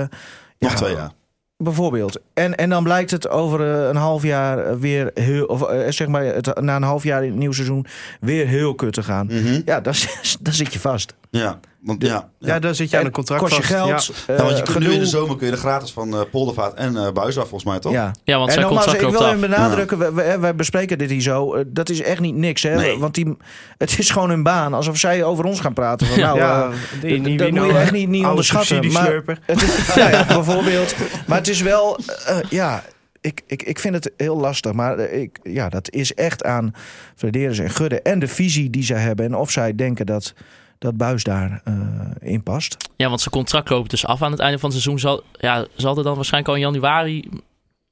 Speaker 7: Nog
Speaker 5: ja,
Speaker 7: twee jaar.
Speaker 5: Bijvoorbeeld. En, en dan blijkt het over eh, een half jaar eh, weer heel. Of eh, zeg maar, het, na een half jaar in het nieuw seizoen weer heel kut te gaan.
Speaker 7: Mhm.
Speaker 5: Ja, dan, dan zit je vast.
Speaker 7: Ja, want ja.
Speaker 8: Ja,
Speaker 7: ja.
Speaker 8: daar zit je aan
Speaker 5: En
Speaker 8: een contract
Speaker 5: kost je
Speaker 8: vast. Ja.
Speaker 5: geld. eh,
Speaker 7: Nou, want je kunt nu in de
Speaker 5: gedoe.
Speaker 7: zomer kun je er gratis van eh, Poldervaart en eh Buis af, volgens mij toch?
Speaker 5: Ja.
Speaker 4: ja, want
Speaker 5: en
Speaker 4: zijn
Speaker 5: nogmaals,
Speaker 4: contract
Speaker 5: ik
Speaker 4: loopt
Speaker 5: wil
Speaker 4: af.
Speaker 5: even benadrukken, we- we- hè, wij, bespreken dit hier zo. eh, dat is echt niet niks, hè?
Speaker 7: Nee.
Speaker 5: Want die, het is gewoon hun baan. Alsof zij over ons gaan praten. Van, nou,
Speaker 8: Ja,
Speaker 5: eh,
Speaker 8: die- die- die
Speaker 5: dat moet
Speaker 8: nou,
Speaker 5: je
Speaker 8: eh,
Speaker 5: echt niet, niet
Speaker 8: oude
Speaker 5: onderschatten. Maar
Speaker 8: subsidieslurper.
Speaker 5: het is, ja, ja, bijvoorbeeld. Maar het is wel, eh, eh, ja, ik, ik, ik vind het heel lastig. Maar eh, ik, ja, dat is echt aan Frederis en Gudde en de visie die zij hebben. En of zij denken dat dat buis daar eh, in past.
Speaker 4: Ja, want zijn contract loopt dus af aan het einde van het seizoen. Zal, ja, zal er dan waarschijnlijk al in januari...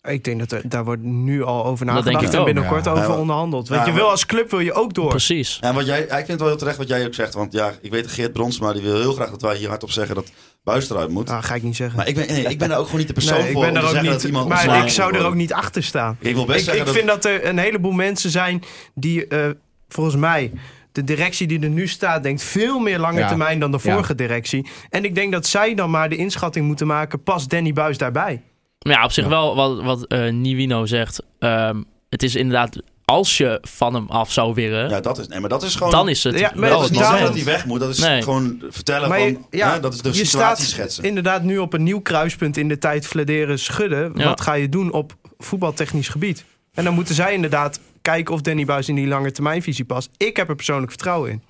Speaker 8: Ik denk dat er, daar wordt nu al over
Speaker 4: denk
Speaker 8: nagedacht
Speaker 4: ik
Speaker 8: en
Speaker 4: ook.
Speaker 8: binnenkort
Speaker 7: Ja.
Speaker 8: over
Speaker 7: Ja,
Speaker 8: onderhandeld.
Speaker 7: ja,
Speaker 8: Want je
Speaker 7: maar-
Speaker 8: wil als club wil je ook door.
Speaker 4: Precies.
Speaker 7: En wat jij, ik vind het wel heel terecht wat jij ook zegt. Want ja, ik weet Geert Bronsma, die wil heel graag dat wij hier hardop zeggen dat Buis eruit moet.
Speaker 8: Nou, ga ik niet zeggen.
Speaker 7: Maar ik ben, nee, ik ben daar ook gewoon niet de persoon
Speaker 8: Nee, ik
Speaker 7: voor
Speaker 8: ben
Speaker 7: om
Speaker 8: daar
Speaker 7: te
Speaker 8: ook
Speaker 7: zeggen dat
Speaker 8: niet.
Speaker 7: iemand
Speaker 8: Maar
Speaker 7: ontslagen
Speaker 8: ik zou
Speaker 7: moet
Speaker 8: er ook
Speaker 7: worden.
Speaker 8: niet achter staan.
Speaker 7: Ik wil best
Speaker 8: Ik,
Speaker 7: zeggen
Speaker 8: ik
Speaker 7: dat...
Speaker 8: vind dat er een heleboel mensen zijn die eh, volgens mij. De directie die er nu staat, denkt veel meer lange
Speaker 5: Ja.
Speaker 8: termijn dan de
Speaker 5: Ja.
Speaker 8: vorige directie. En ik denk dat zij dan maar de inschatting moeten maken: past Danny Buis daarbij?
Speaker 4: Maar ja, op zich wel wat, wat eh Niwino zegt. ehm, het is inderdaad, als je van hem af zou willen,
Speaker 7: Ja, dat is... Nee, maar dat is gewoon...
Speaker 4: dan is het...
Speaker 8: Ja, maar
Speaker 4: wel
Speaker 7: dat is
Speaker 4: het
Speaker 7: niet
Speaker 8: daarom-
Speaker 7: zeggen
Speaker 4: moment.
Speaker 7: dat hij weg moet. Dat is
Speaker 4: Nee.
Speaker 7: gewoon vertellen
Speaker 8: Maar je-
Speaker 7: van...
Speaker 8: ja,
Speaker 7: hè, dat is de
Speaker 8: je
Speaker 7: situatie
Speaker 8: staat
Speaker 7: schetsen.
Speaker 8: inderdaad nu op een nieuw kruispunt in de tijd fladeren, schudden.
Speaker 4: Ja.
Speaker 8: Wat ga je doen op voetbaltechnisch gebied? En dan moeten zij inderdaad kijken of Danny Buis in die lange termijnvisie past. Ik heb er persoonlijk vertrouwen in.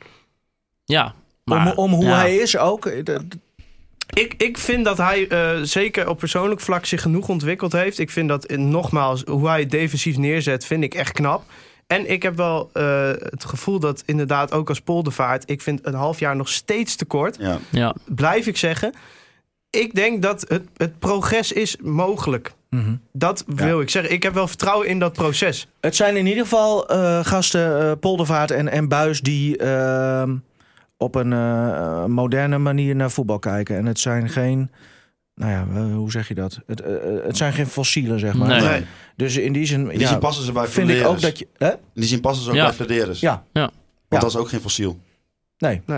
Speaker 4: Ja, maar...
Speaker 5: om, om hoe
Speaker 4: ja.
Speaker 5: hij is ook. eh, dat-
Speaker 8: Ik, ik vind dat hij eh, zeker op persoonlijk vlak zich genoeg ontwikkeld heeft. Ik vind dat, eh, nogmaals, hoe hij het defensief neerzet, vind ik echt knap. En ik heb wel eh, het gevoel dat inderdaad ook als poldervaart... ik vind een half jaar nog steeds te kort,
Speaker 7: Ja.
Speaker 4: Ja,
Speaker 8: blijf ik zeggen. Ik denk dat het, het progress is mogelijk.
Speaker 7: Mhm.
Speaker 8: Dat wil ik zeggen. Ik heb wel vertrouwen in dat proces.
Speaker 5: Het zijn in ieder geval eh, gasten, eh, Poldervaart en, en Buis, die ehm, op een eh, moderne manier naar voetbal kijken. En het zijn geen, nou ja, eh, hoe zeg je dat? Het, eh, het zijn geen fossielen, zeg maar.
Speaker 4: Nee.
Speaker 7: Nee.
Speaker 5: Dus in die zin,
Speaker 7: In die
Speaker 5: ja,
Speaker 7: zin passen ze bij
Speaker 5: vind ik ook
Speaker 7: Flederis.
Speaker 5: dat je. Hè? Dus
Speaker 7: In die zin passen ze ook
Speaker 4: Ja.
Speaker 7: bij Flederis.
Speaker 5: Ja. Ja.
Speaker 7: Want dat is ook geen fossiel.
Speaker 5: Nee.
Speaker 8: Nee.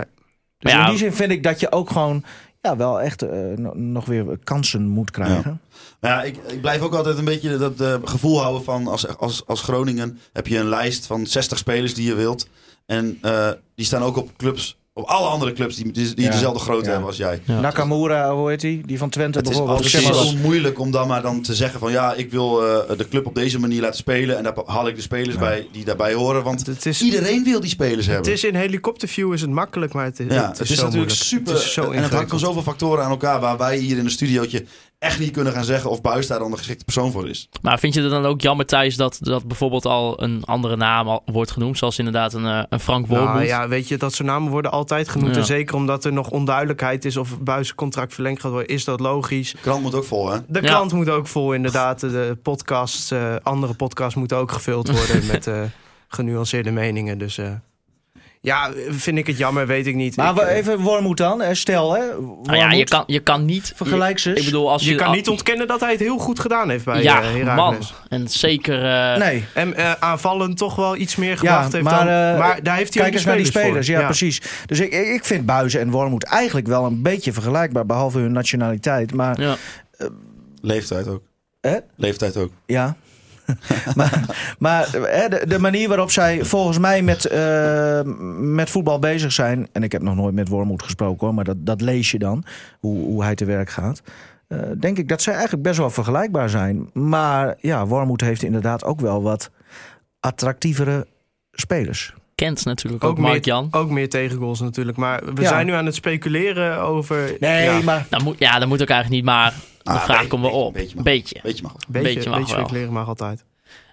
Speaker 4: Maar
Speaker 5: Dus
Speaker 4: ja,
Speaker 5: in die zin vind ik dat je ook gewoon, ja, wel echt eh, no- nog weer kansen moet krijgen.
Speaker 7: Maar ja, ik, ik blijf ook altijd een beetje dat eh, gevoel houden van als, als, als Groningen heb je een lijst van 60 spelers die je wilt. En eh, die staan ook op clubs, op alle andere clubs die, die, die
Speaker 5: Ja.
Speaker 7: dezelfde grootte
Speaker 5: Ja.
Speaker 7: hebben als jij.
Speaker 4: Ja.
Speaker 5: Nakamura, hoe heet die? Die van Twente
Speaker 7: Het is
Speaker 5: bijvoorbeeld.
Speaker 7: altijd
Speaker 5: Zeg maar
Speaker 7: zo
Speaker 5: wat.
Speaker 7: moeilijk om dan maar dan te zeggen van ja, ik wil eh, de club op deze manier laten spelen. En daar haal ik de spelers bij die daarbij horen. Want
Speaker 8: Het is,
Speaker 7: iedereen wil die spelers hebben.
Speaker 8: het is in helikopterview is het makkelijk, maar het,
Speaker 7: ja,
Speaker 8: het is, zo
Speaker 7: natuurlijk
Speaker 8: moeilijk.
Speaker 7: super.
Speaker 8: Het is zo
Speaker 7: en het hangt van
Speaker 8: ingewikkeld.
Speaker 7: zoveel factoren aan elkaar waar wij hier in een studiootje echt niet kunnen gaan zeggen of Buis daar dan de geschikte persoon voor is.
Speaker 4: maar vind je het dan ook jammer, Thijs, dat, dat bijvoorbeeld al een andere naam al wordt genoemd? Zoals inderdaad een, eh, een Frank Wormoed.
Speaker 8: Nou ja, weet je, dat soort namen worden altijd genoemd.
Speaker 4: Ja.
Speaker 8: En zeker omdat er nog onduidelijkheid is of Buis contract verlengd gaat worden, is dat logisch.
Speaker 7: De krant moet ook vol, hè?
Speaker 8: De
Speaker 4: Ja.
Speaker 8: krant moet ook vol, inderdaad. De podcasts, eh, andere podcasts moeten ook gevuld worden met eh, genuanceerde meningen. Dus eh, ja, vind ik het jammer, weet ik niet.
Speaker 5: Maar
Speaker 8: Ik,
Speaker 5: we-
Speaker 8: eh,
Speaker 5: even Wormoed dan. eh, Stel, hè? Wormoed,
Speaker 4: Nou ja, je kan, je kan niet...
Speaker 5: vergelijk dus. ze.
Speaker 4: Ik bedoel, als je...
Speaker 8: je kan niet ontkennen dat hij het heel goed gedaan heeft bij eh, ja,
Speaker 4: Ja,
Speaker 8: Heracles.
Speaker 4: man. En zeker... eh,
Speaker 5: nee.
Speaker 8: En eh, aanvallend toch wel iets meer gebracht heeft
Speaker 5: maar,
Speaker 8: dan...
Speaker 5: eh,
Speaker 8: maar daar heeft hij ook
Speaker 5: Kijk
Speaker 8: de
Speaker 5: eens naar die
Speaker 8: spelers
Speaker 5: spelers,
Speaker 8: voor.
Speaker 5: ja, precies. Dus ik, ik ik vind Buizen en Wormoed eigenlijk wel een beetje vergelijkbaar, behalve hun nationaliteit. Maar
Speaker 4: ja.
Speaker 7: Leeftijd ook.
Speaker 5: Hè?
Speaker 7: Leeftijd ook.
Speaker 5: ja, maar maar hè, de, de manier waarop zij volgens mij met, eh, met voetbal bezig zijn. En ik heb nog nooit met Wormoed gesproken hoor, maar dat, dat lees je dan. Hoe, hoe hij te werk gaat. eh, denk ik dat zij eigenlijk best wel vergelijkbaar zijn. Maar ja, Wormoed heeft inderdaad ook wel wat attractievere spelers.
Speaker 4: Kent natuurlijk ook,
Speaker 8: meer,
Speaker 4: Mark Jan.
Speaker 8: ook meer tegengoals natuurlijk. Maar we
Speaker 5: Ja.
Speaker 8: zijn nu aan het speculeren over... ja,
Speaker 5: maar
Speaker 4: Dat Nou, moet, ja, dat moet ook eigenlijk niet, maar de
Speaker 7: Ah,
Speaker 4: vraag
Speaker 7: beetje,
Speaker 4: komt wel
Speaker 7: beetje,
Speaker 4: op.
Speaker 7: beetje
Speaker 4: Beetje.
Speaker 7: mag. Beetje mag
Speaker 8: beetje,
Speaker 7: wel.
Speaker 4: beetje
Speaker 8: beetje,
Speaker 4: mag wel.
Speaker 8: speculeren mag altijd.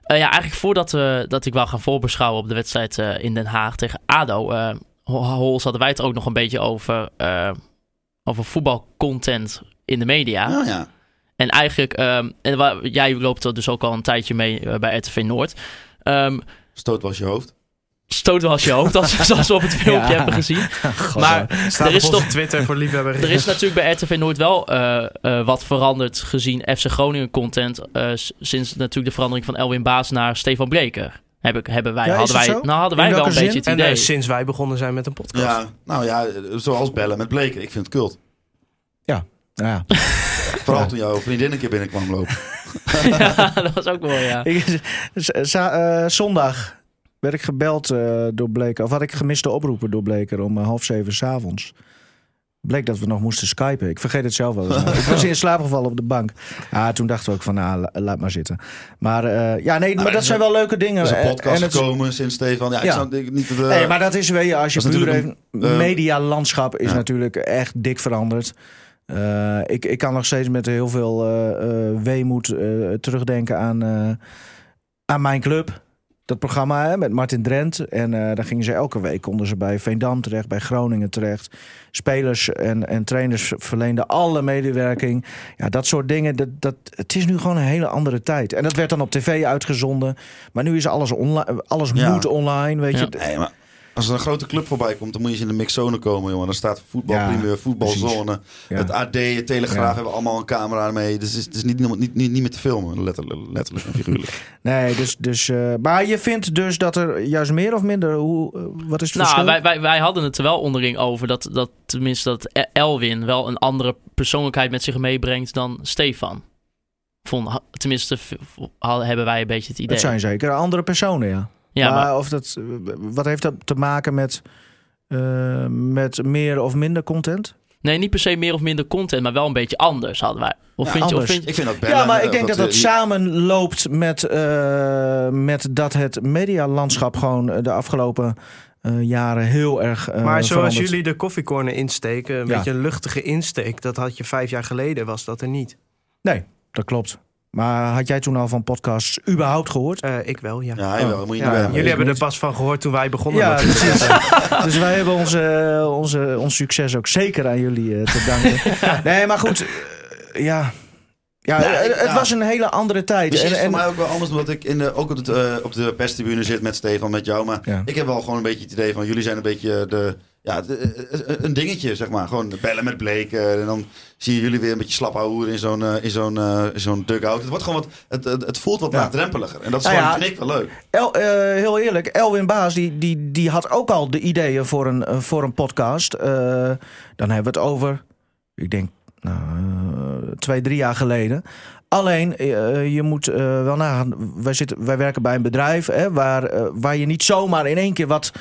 Speaker 4: Eh, ja, eigenlijk voordat we, dat ik wou gaan voorbeschouwen op de wedstrijd eh, in Den Haag tegen ADO... eh Ho- Hols hadden wij het ook nog een beetje over, eh, over voetbalcontent in de media.
Speaker 7: Nou ja.
Speaker 4: En eigenlijk, ehm, en waar, jij loopt er dus ook al een tijdje mee eh, bij RTV Noord. Ehm,
Speaker 7: Stoot was je hoofd.
Speaker 4: stoot wel als je hoofd, als, zoals we op het filmpje
Speaker 5: Ja.
Speaker 4: hebben gezien. maar
Speaker 8: Staat
Speaker 4: er is
Speaker 8: op onze
Speaker 4: toch...
Speaker 8: Twitter voor liefhebber.
Speaker 4: Er is natuurlijk bij RTV Noord wel eh, eh, wat veranderd gezien FC Groningen content. eh, s- sinds natuurlijk de verandering van Elwin Baas naar Stefan Bleker. Heb ik, hebben wij,
Speaker 5: Ja, is
Speaker 4: hadden
Speaker 5: het
Speaker 4: wij,
Speaker 5: zo?
Speaker 4: nou hadden
Speaker 5: In
Speaker 4: wij wel een
Speaker 5: welke
Speaker 4: beetje
Speaker 5: zin?
Speaker 4: het
Speaker 8: en
Speaker 4: idee.
Speaker 8: eh, sinds wij begonnen zijn met een podcast.
Speaker 7: Ja, nou ja, eh, zoals bellen met Bleken. Ik vind het kult.
Speaker 5: ja.
Speaker 7: Vooral toen jouw vriendin een keer binnenkwam lopen.
Speaker 4: ja, dat was ook wel, ja.
Speaker 5: Ik- z- za- eh, zondag werd ik gebeld eh, door Bleker. Of had ik gemiste oproepen door Bleker om eh, half zeven s'avonds. Bleek dat we nog moesten skypen. Ik vergeet het zelf wel. eens. ik was in slaap gevallen op de bank. Ah, toen dachten we ook van, nou, la- laat maar zitten. Maar eh, ja, nee, maar
Speaker 7: er
Speaker 5: dat
Speaker 7: is
Speaker 5: zijn
Speaker 7: een-
Speaker 5: wel leuke dingen. eh,
Speaker 7: Er is een
Speaker 5: En-
Speaker 7: podcast
Speaker 5: en het-
Speaker 7: gekomen sinds Stefan. Ja, ik
Speaker 5: Ja.
Speaker 7: snap ik- niet dat... eh,
Speaker 5: Nee, maar dat is weer, als je
Speaker 7: dat is
Speaker 5: puur
Speaker 7: natuurlijk
Speaker 5: even...
Speaker 7: een- eh,
Speaker 5: medialandschap is
Speaker 7: ja.
Speaker 5: natuurlijk echt dik veranderd. Eh, ik, ik kan nog steeds met heel veel eh, eh, weemoed eh, terugdenken aan, eh, aan mijn club. Dat programma hè, met Martin Drent. En eh daar gingen ze elke week konden ze bij Veendam terecht, bij Groningen terecht. Spelers en, en trainers verleenden alle medewerking. Ja, dat soort dingen. Dat, dat, het is nu gewoon een hele andere tijd. En dat werd dan op tv uitgezonden. Maar nu is alles online. Alles
Speaker 7: Ja.
Speaker 5: moet online. Weet
Speaker 4: Ja.
Speaker 5: je.
Speaker 7: Nee, maar als er een grote club voorbij komt, dan moet je eens in de mixzone komen, jongen. Dan staat voetbal,
Speaker 5: Ja,
Speaker 7: primeur, voetbalzone.
Speaker 5: Ja.
Speaker 7: Het AD, het Telegraaf
Speaker 5: Ja.
Speaker 7: hebben allemaal een camera mee. Dus het is, het is niet, niet, niet, niet meer te filmen, letterlijk, letterlijk en figuurlijk.
Speaker 5: Nee, dus, dus, eh, maar je vindt dus dat er juist meer of minder. Hoe, eh, wat is het
Speaker 4: Nou,
Speaker 5: verschil?
Speaker 4: wij, wij, wij hadden het er wel onderling over dat, dat tenminste dat E- Elwin wel een andere persoonlijkheid met zich meebrengt dan Stefan. Vond, ha- tenminste, v- v- ha- hebben wij een beetje het idee.
Speaker 5: Het zijn zeker andere personen, ja.
Speaker 4: ja,
Speaker 5: maar,
Speaker 4: maar,
Speaker 5: of dat, eh, wat heeft dat te maken met, eh, met meer of minder content?
Speaker 4: nee, niet per se meer of minder content, maar wel een beetje anders hadden wij. Of
Speaker 5: Ja,
Speaker 4: vind je, of
Speaker 5: anders.
Speaker 4: vind,
Speaker 7: Ik vind dat bellen...
Speaker 5: Ja, maar
Speaker 8: nou,
Speaker 7: eh,
Speaker 5: ik denk dat
Speaker 7: eh,
Speaker 5: dat
Speaker 7: die-
Speaker 5: samenloopt met, eh, met dat het medialandschap gewoon eh, de afgelopen eh, jaren heel erg. eh,
Speaker 8: Maar zoals
Speaker 5: verandert.
Speaker 8: jullie de koffiecorner insteken, een
Speaker 5: Ja.
Speaker 8: beetje een luchtige insteek, dat had je vijf jaar geleden, was dat er niet.
Speaker 5: Nee, dat klopt. Maar had jij toen al van podcasts überhaupt gehoord?
Speaker 8: Eh, ik wel, ja.
Speaker 7: Ja, hij wel, moet je
Speaker 8: Ja,
Speaker 7: niet bellen.
Speaker 8: jullie hebben
Speaker 5: niet.
Speaker 8: er pas van gehoord toen wij begonnen.
Speaker 5: Ja,
Speaker 8: met-
Speaker 5: precies. dus wij hebben onze, onze, ons succes ook zeker aan jullie eh, te danken. nee, maar goed. eh, ja. Ja,
Speaker 7: Nou,
Speaker 5: eh,
Speaker 7: ik-
Speaker 5: het
Speaker 7: nou,
Speaker 5: was een hele andere tijd.
Speaker 7: Misschien is het
Speaker 5: En-
Speaker 7: voor
Speaker 5: en-
Speaker 7: mij ook wel anders, omdat ik in de, ook op de, eh, op de perstribune zit met Stefan, met jou. Maar
Speaker 5: Ja.
Speaker 7: ik heb wel gewoon een beetje het idee van, jullie zijn een beetje de... Ja, de- eh, eh, een dingetje, zeg maar. Gewoon bellen met Bleek. eh, en dan zie je jullie weer een beetje slap houden in zo'n eh, in zo'n eh, in zo'n dugout. Het, wordt gewoon wat, het, het, het voelt wat
Speaker 5: Ja.
Speaker 7: laagdrempeliger. En dat is
Speaker 5: Nou
Speaker 7: gewoon,
Speaker 5: ja,
Speaker 7: vind ik wel leuk.
Speaker 5: El- eh, heel eerlijk, Elwin Baas die, die, die had ook al de ideeën voor een, eh, voor een podcast. Eh, dan hebben we het over, ik denk, nou, eh, twee, drie jaar geleden. Alleen, eh, je moet eh, wel nagaan, wij, zitten, wij werken bij een bedrijf hè, waar, eh, waar je niet zomaar in één keer wat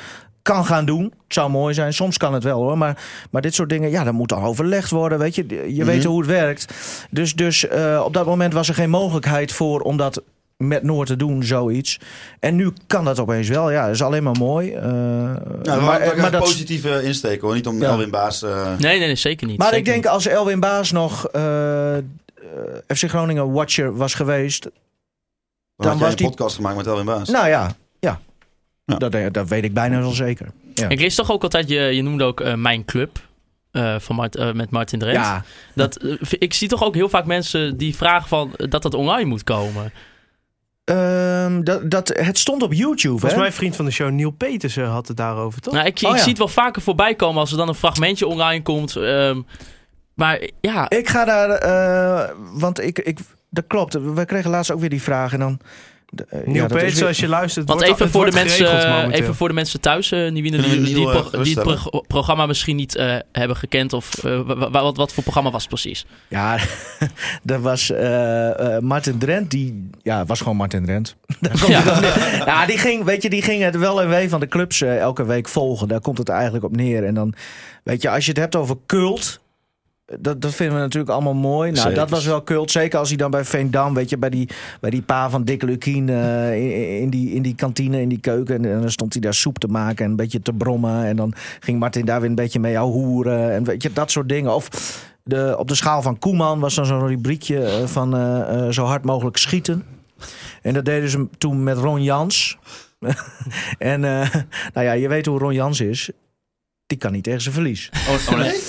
Speaker 5: kan gaan doen. Het zou mooi zijn, soms kan het wel hoor. Maar, maar dit soort dingen, ja, daar moet al overlegd worden. Weet je, je
Speaker 7: Mhm.
Speaker 5: weet hoe het werkt. Dus, dus eh, op dat moment was er geen mogelijkheid voor om dat met Noord te doen, zoiets. En nu kan dat opeens wel. Ja, dat is alleen maar mooi. Eh,
Speaker 7: Ja, maar,
Speaker 5: maar, eh, maar,
Speaker 7: een
Speaker 5: dat,
Speaker 7: positieve insteek hoor. Niet om
Speaker 5: Ja.
Speaker 7: Elwin Baas... eh,
Speaker 4: nee, nee, nee, zeker niet.
Speaker 5: maar ik
Speaker 4: zeker
Speaker 5: denk
Speaker 4: niet.
Speaker 5: als Elwin Baas nog eh, eh, FC Groningen Watcher was geweest...
Speaker 7: dan had jij
Speaker 5: was
Speaker 7: een
Speaker 5: die-
Speaker 7: podcast gemaakt met Elwin Baas.
Speaker 5: Nou ja, ja.
Speaker 7: Ja.
Speaker 5: Dat, dat weet ik bijna wel zeker. Ja.
Speaker 4: Ik lees toch ook altijd, je, je noemde ook eh, Mijn Club eh, van Mart- eh, met Martin Drent.
Speaker 5: Ja,
Speaker 4: Dat, eh, v- ik zie toch ook heel vaak mensen die vragen van, eh, dat dat online moet komen.
Speaker 5: ehm, dat, dat, het stond op YouTube, hè?
Speaker 8: Volgens mij vriend van de show Neil Petersen had het daarover, toch?
Speaker 4: Nou, ik,
Speaker 5: Oh,
Speaker 4: ik
Speaker 5: ja.
Speaker 4: zie het wel vaker voorbij komen als er dan een fragmentje online komt. ehm, maar ja,
Speaker 5: Ik ga daar, eh, want ik, ik, dat klopt. We kregen laatst ook weer die vraag. En dan De- eh,
Speaker 8: Nieuw
Speaker 5: ja, dat is
Speaker 8: Page,
Speaker 5: weer-
Speaker 8: als je luistert.
Speaker 4: Want
Speaker 8: wordt-
Speaker 4: even
Speaker 8: het
Speaker 4: voor, de
Speaker 8: wordt geregeld
Speaker 4: mensen, eh,
Speaker 8: momenteel.
Speaker 4: even voor de mensen thuis, eh die, die,
Speaker 7: Kunnen jullie
Speaker 4: die,
Speaker 7: heel
Speaker 4: die,
Speaker 7: erg
Speaker 4: pro- die het
Speaker 7: geruststellen?
Speaker 4: pro- programma misschien niet eh, hebben gekend. Of, eh, wa- wa- wat, wat voor programma was het precies?
Speaker 5: Ja, dat was eh, eh, Martin Drent. Die ja, was gewoon Martin Drent. Daar komt het
Speaker 4: Ja.
Speaker 5: op neer. ja, die ging, weet je, die ging het wel en wee van de clubs eh, elke week volgen. Daar komt het eigenlijk op neer. En dan, weet je, als je het hebt over cult. Dat, dat vinden we natuurlijk allemaal mooi. Nou,
Speaker 7: Zeker.
Speaker 5: dat was wel cult. Zeker als hij dan bij Veendam, weet je, bij die, bij die pa van Dick Lukien eh, in, in die, in die kantine, in die keuken. En, dan stond hij daar soep te maken en een beetje te brommen. En dan ging Martin daar weer een beetje mee jou hoeren. En weet je, dat soort dingen. Of de, op de schaal van Koeman was dan zo'n rubriekje eh, van eh, eh, zo hard mogelijk schieten. En dat deden ze toen met Ron Jans. en eh, nou ja, je weet hoe Ron Jans is. Die kan niet tegen zijn verlies.
Speaker 7: Oh, nee?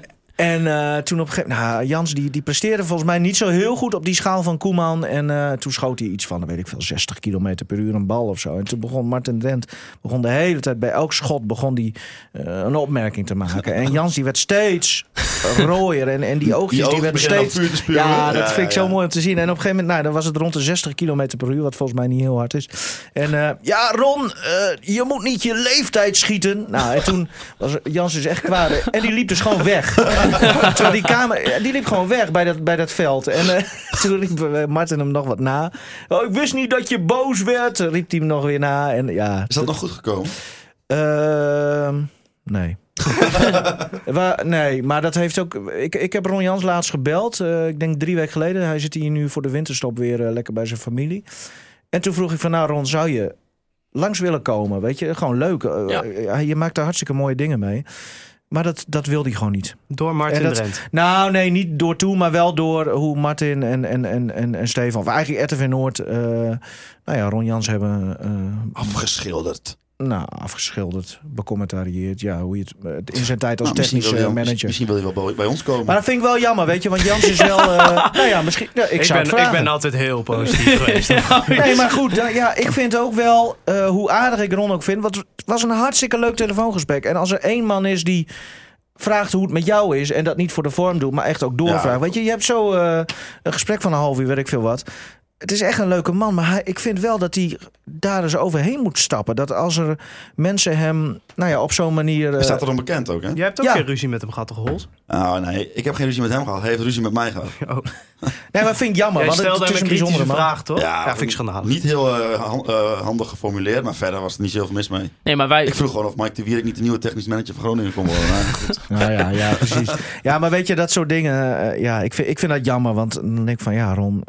Speaker 5: En eh, toen op een gegeven moment... Nou, Jans die, die presteerde volgens mij niet zo heel goed op die schaal van Koeman. En eh, toen schoot hij iets van, weet ik veel, 60 km per uur een bal of zo. En toen begon Martin Dent begon de hele tijd bij elk schot begon die, eh, een opmerking te maken. En Jans die werd steeds rooier. En, en die oogjes
Speaker 7: Die
Speaker 5: die,
Speaker 7: ogen
Speaker 5: werden
Speaker 7: beginnen
Speaker 5: steeds...
Speaker 7: dan vuur te spuwen.
Speaker 5: Ja, dat vind ik
Speaker 7: ja,
Speaker 5: zo
Speaker 7: ja.
Speaker 5: mooi om te zien. En op een gegeven moment, nou, dan was het rond de 60 km per uur, wat volgens mij niet heel hard is. En eh, ja, Ron, eh, je moet niet je leeftijd schieten. Nou, en toen was Jans dus echt kwaad. En die liep dus gewoon weg. Terwijl die kamer, die liep gewoon weg bij dat, bij dat veld. En eh, toen riep eh, Martin hem nog wat na. Oh, ik wist niet dat je boos werd, riep hij hem nog weer na. En ja,
Speaker 7: Is dat nog goed gekomen?
Speaker 5: Ehm, nee. Wa- nee, maar dat heeft ook. Ik, ik heb Ron Jans laatst gebeld. eh, ik denk drie weken geleden. Hij zit hier nu voor de winterstop weer eh, lekker bij zijn familie. En toen vroeg ik van nou, Ron, zou je langs willen komen? Weet je, gewoon leuk. Eh,
Speaker 4: Ja.
Speaker 5: eh, je maakt daar hartstikke mooie dingen mee. Maar dat, dat wil hij gewoon niet.
Speaker 8: Door Martin
Speaker 5: En dat-
Speaker 8: Drent.
Speaker 5: Nou, nee, niet door toe, maar wel door hoe Martin en, en, en, en, en Stefan, of eigenlijk RTV Noord, eh, nou ja, Ron Jans hebben eh,
Speaker 7: Afgeschilderd.
Speaker 5: nou, afgeschilderd, becommentarieerd. Ja, hoe je het- het eh, in zijn tijd als
Speaker 7: Nou, misschien,
Speaker 5: technische
Speaker 7: wil je, wel-
Speaker 5: manager.
Speaker 7: misschien wil je wel bij- bij ons komen.
Speaker 5: Maar eh, dat vind ik wel jammer, weet je. Want Jans is wel... eh, nou ja, misschien... ja, ik,
Speaker 8: Ik,
Speaker 5: zou
Speaker 8: ben,
Speaker 5: het
Speaker 8: ik
Speaker 5: vragen.
Speaker 8: ben altijd heel positief geweest.
Speaker 5: Nee, maar goed. ja, ja, ik vind ook wel, eh, hoe aardig ik Ron ook vind... Want het was een hartstikke leuk telefoongesprek. En als er één man is die vraagt hoe het met jou is... en dat niet voor de vorm doet, maar echt ook doorvraagt.
Speaker 7: Ja.
Speaker 5: Weet je, je hebt zo eh, een gesprek van een half uur, weet ik veel wat... Het is echt een leuke man, maar hij, ik vind wel dat hij daar eens overheen moet stappen. Dat als er mensen hem, nou ja, op zo'n manier... eh,
Speaker 7: Hij staat er onbekend ook, hè?
Speaker 8: Jij hebt ook
Speaker 5: Ja.
Speaker 8: geen ruzie met hem gehad, toch, Holt?
Speaker 7: Nou, nee, ik heb geen ruzie met hem gehad. Hij heeft ruzie met mij gehad.
Speaker 8: Oh,
Speaker 5: Nee, maar vind ik jammer,
Speaker 8: Jij
Speaker 5: want het,
Speaker 8: stelde hem
Speaker 5: het is
Speaker 8: een
Speaker 5: een bijzondere
Speaker 8: kritische
Speaker 5: man.
Speaker 8: vraag, toch? Ja,
Speaker 7: dat
Speaker 8: vind ik schandalig.
Speaker 7: Niet heel eh, han- eh, handig geformuleerd, maar verder was er niet zoveel mis mee.
Speaker 4: Nee, maar wij,
Speaker 7: Ik vroeg gewoon of Mike de Wierik niet de nieuwe technisch manager van Groningen kon worden. Maar goed.
Speaker 5: Ja, ja, ja, precies. Ja, maar weet je, dat soort dingen, eh, ja, ik vind, ik vind dat jammer, want dan denk ik van, ja, Ron,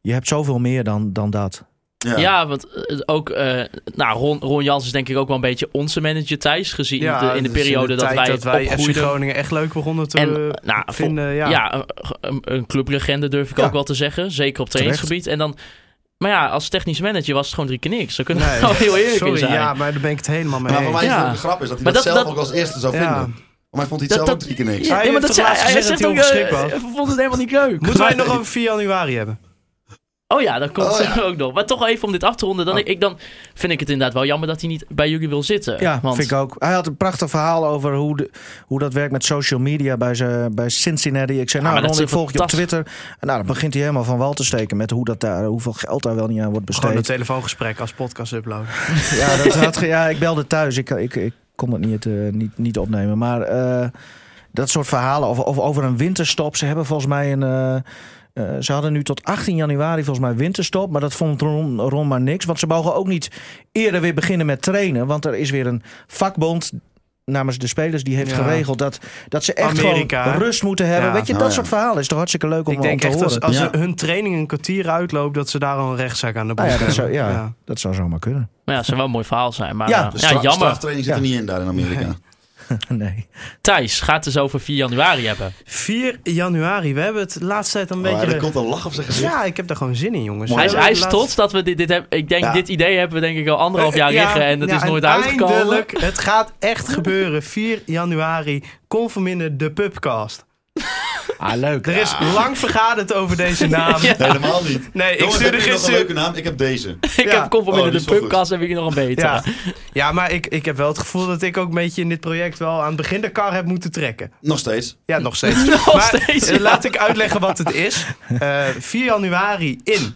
Speaker 5: je hebt zoveel meer dan, dan dat.
Speaker 7: Ja.
Speaker 4: Ja, want eh, ook eh, nou, Ron, Ron Jans is denk ik ook wel een beetje onze manager Thijs. Gezien
Speaker 8: Ja,
Speaker 4: de- in de
Speaker 8: dus
Speaker 4: periode
Speaker 8: tijd
Speaker 4: dat wij,
Speaker 8: dat wij FC
Speaker 4: opgroeiden.
Speaker 8: Groningen echt leuk begonnen te
Speaker 4: En,
Speaker 8: eh,
Speaker 4: nou, vol-
Speaker 8: vinden. Ja.
Speaker 4: ja, een, een clublegende durf ik
Speaker 5: Ja.
Speaker 4: ook wel te zeggen. Zeker op trainingsgebied. En dan, maar ja, als technisch manager was het gewoon drie keer niks. Daar kunnen we
Speaker 8: Nee,
Speaker 4: wel heel eerlijk in
Speaker 8: Sorry,
Speaker 4: zijn.
Speaker 8: ja, maar daar ben ik het helemaal mee
Speaker 7: Maar voor
Speaker 8: eens.
Speaker 7: mij is
Speaker 4: Ja.
Speaker 7: het de grap is dat hij
Speaker 4: Maar
Speaker 7: dat,
Speaker 4: dat-
Speaker 7: zelf
Speaker 4: dat-
Speaker 7: ook als eerste zou
Speaker 8: Ja.
Speaker 7: vinden. Maar hij vond hij het zelf ook drie keer niks.
Speaker 4: Ja,
Speaker 8: Hij
Speaker 4: nee, maar
Speaker 8: heeft toch
Speaker 4: dat zei,
Speaker 8: laatst
Speaker 4: hij
Speaker 8: gezegd
Speaker 4: zegt
Speaker 8: dat
Speaker 4: ook,
Speaker 8: hij
Speaker 4: eh,
Speaker 8: ongeschikt
Speaker 4: hij vond het helemaal niet leuk.
Speaker 8: Moeten wij het nog over 4 januari hebben?
Speaker 4: Oh ja, dat komt
Speaker 7: Oh
Speaker 4: er ook nog. Maar toch even om dit af te ronden.
Speaker 8: Oh.
Speaker 4: Dan, ik, dan vind ik het inderdaad wel jammer dat hij niet bij jullie wil zitten.
Speaker 5: Ja,
Speaker 4: want,
Speaker 5: vind ik ook. Hij had een prachtig verhaal over hoe, de, hoe dat werkt met social media bij, ze, bij Cincinnati. Ik zei,
Speaker 4: Ja,
Speaker 5: nou
Speaker 4: maar dat
Speaker 5: Ron,
Speaker 4: is
Speaker 5: ik volg je op
Speaker 4: fantastisch.
Speaker 5: Twitter. En nou, dan begint hij helemaal van wal te steken met hoe dat daar, hoeveel geld daar wel niet aan wordt
Speaker 8: Gewoon een
Speaker 5: besteed.
Speaker 8: telefoongesprek als podcast uploaden.
Speaker 5: Ja, dat had, ge- ja, ik belde thuis. Ik, ik, ik kon het niet, eh, niet, niet opnemen. Maar eh, dat soort verhalen over, over, over een winterstop. Ze hebben volgens mij een. eh, eh, ze hadden nu tot 18 januari volgens mij winterstop. Maar dat vond Ron, Ron maar niks. Want ze mogen ook niet eerder weer beginnen met trainen. Want er is weer een vakbond namens de spelers die heeft
Speaker 8: Ja.
Speaker 5: geregeld dat, dat ze echt
Speaker 8: Amerika,
Speaker 5: gewoon
Speaker 8: hè?
Speaker 5: rust moeten hebben.
Speaker 8: Ja.
Speaker 5: Weet je, dat
Speaker 7: Nou ja.
Speaker 5: soort verhalen is toch hartstikke leuk om,
Speaker 8: Ik denk
Speaker 5: om te
Speaker 8: echt
Speaker 5: horen.
Speaker 8: als, als
Speaker 7: Ja.
Speaker 8: hun training een kwartier uitloopt, dat ze daar al een rechtszaak aan de boeg
Speaker 5: Nou ja, dat zou,
Speaker 8: hebben.
Speaker 5: ja, dat zou zomaar kunnen.
Speaker 4: Maar nou ja, het zou wel een mooi verhaal zijn. Maar
Speaker 5: Ja,
Speaker 4: eh,
Speaker 7: De
Speaker 4: ja,
Speaker 7: stra-
Speaker 4: jammer.
Speaker 7: straftraining zit er niet in daar in Amerika.
Speaker 5: nee.
Speaker 4: Thijs gaat dus over 4 januari hebben.
Speaker 8: 4 januari, we hebben het de laatste
Speaker 5: Oh,
Speaker 8: tijd een
Speaker 7: Maar
Speaker 8: beetje...
Speaker 7: er Oh, komt een lach op zijn gezicht.
Speaker 8: Ja, ik heb daar gewoon zin in, jongens.
Speaker 4: Hij is, hij is
Speaker 8: Laatst- Eh,
Speaker 4: trots dat we dit, dit hebben. Ik denk,
Speaker 7: Ja.
Speaker 4: dit idee hebben we denk ik al anderhalf jaar
Speaker 8: Ja,
Speaker 4: liggen en dat
Speaker 8: ja,
Speaker 4: is nooit
Speaker 8: eindelijk,
Speaker 4: uitgekomen.
Speaker 8: Het gaat echt gebeuren. 4 januari, Conforminder, de pubcast.
Speaker 5: Ah, leuk.
Speaker 8: Er is lang vergaderd over deze naam.
Speaker 7: Helemaal niet.
Speaker 8: Nee, ik
Speaker 7: Jongens,
Speaker 8: stuurde
Speaker 7: hebben jullie nog een
Speaker 8: gisteren...
Speaker 7: leuke naam. Ik heb deze.
Speaker 4: Ik
Speaker 8: Ja.
Speaker 4: heb conform
Speaker 7: Oh,
Speaker 4: in
Speaker 7: die
Speaker 4: de
Speaker 7: is wel goed.
Speaker 4: pubkast heb ik nog een beter.
Speaker 8: Ja, ja maar ik, ik heb wel het gevoel dat ik ook een beetje in dit project wel aan het begin de kar heb moeten trekken.
Speaker 7: Nog steeds.
Speaker 8: Ja, nog steeds.
Speaker 4: Nog
Speaker 8: maar,
Speaker 4: steeds,
Speaker 8: eh,
Speaker 4: ja.
Speaker 8: Laat ik uitleggen wat het is. Eh, 4 januari in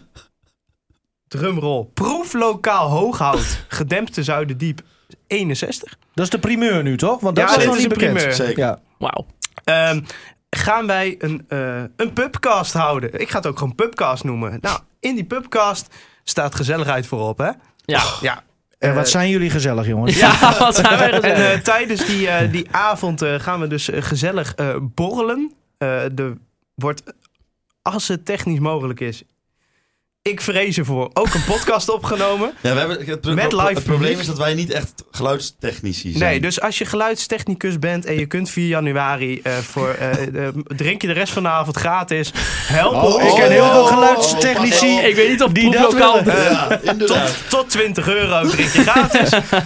Speaker 8: drumroll, proeflokaal Hooghout, gedempte Zuiderdiep, 61.
Speaker 5: Dat is de primeur nu, toch? Want dat
Speaker 8: Ja,
Speaker 5: was
Speaker 8: dit
Speaker 5: nog
Speaker 8: is
Speaker 5: niet
Speaker 8: de
Speaker 5: bekend.
Speaker 8: primeur.
Speaker 7: Zeker.
Speaker 5: Ja.
Speaker 4: Wauw.
Speaker 8: Ehm, gaan wij een, eh, een pubcast houden? Ik ga het ook gewoon pubcast noemen. Nou, in die pubcast staat gezelligheid voorop, hè?
Speaker 4: Ja.
Speaker 8: Ja.
Speaker 5: En wat
Speaker 8: Eh,
Speaker 5: zijn jullie gezellig, jongens?
Speaker 4: Ja, wat zijn wij
Speaker 8: En
Speaker 4: gezegd?
Speaker 8: eh, tijdens die, eh, die avond eh, gaan we dus eh, gezellig eh, borrelen. Eh er wordt, als het technisch mogelijk is, ik vrees ervoor, ook een podcast opgenomen.
Speaker 7: Ja, we hebben, het, pro-
Speaker 8: Met
Speaker 7: pro-
Speaker 8: live
Speaker 7: het probleem
Speaker 8: publiek.
Speaker 7: is dat wij niet echt geluidstechnici zijn.
Speaker 8: Nee, dus als je geluidstechnicus bent en je kunt 4 januari eh, voor eh, eh, drink je de rest van de avond gratis. Help
Speaker 7: Oh,
Speaker 8: ons.
Speaker 5: Ik ken heel veel geluidstechnici.
Speaker 7: oh, oh,
Speaker 4: Ik weet niet of
Speaker 5: Die dat
Speaker 4: proeflokaal...
Speaker 5: willen.
Speaker 7: Ja, inderdaad.
Speaker 8: Tot, tot 20 euro drink je gratis. Eh,
Speaker 7: Nou,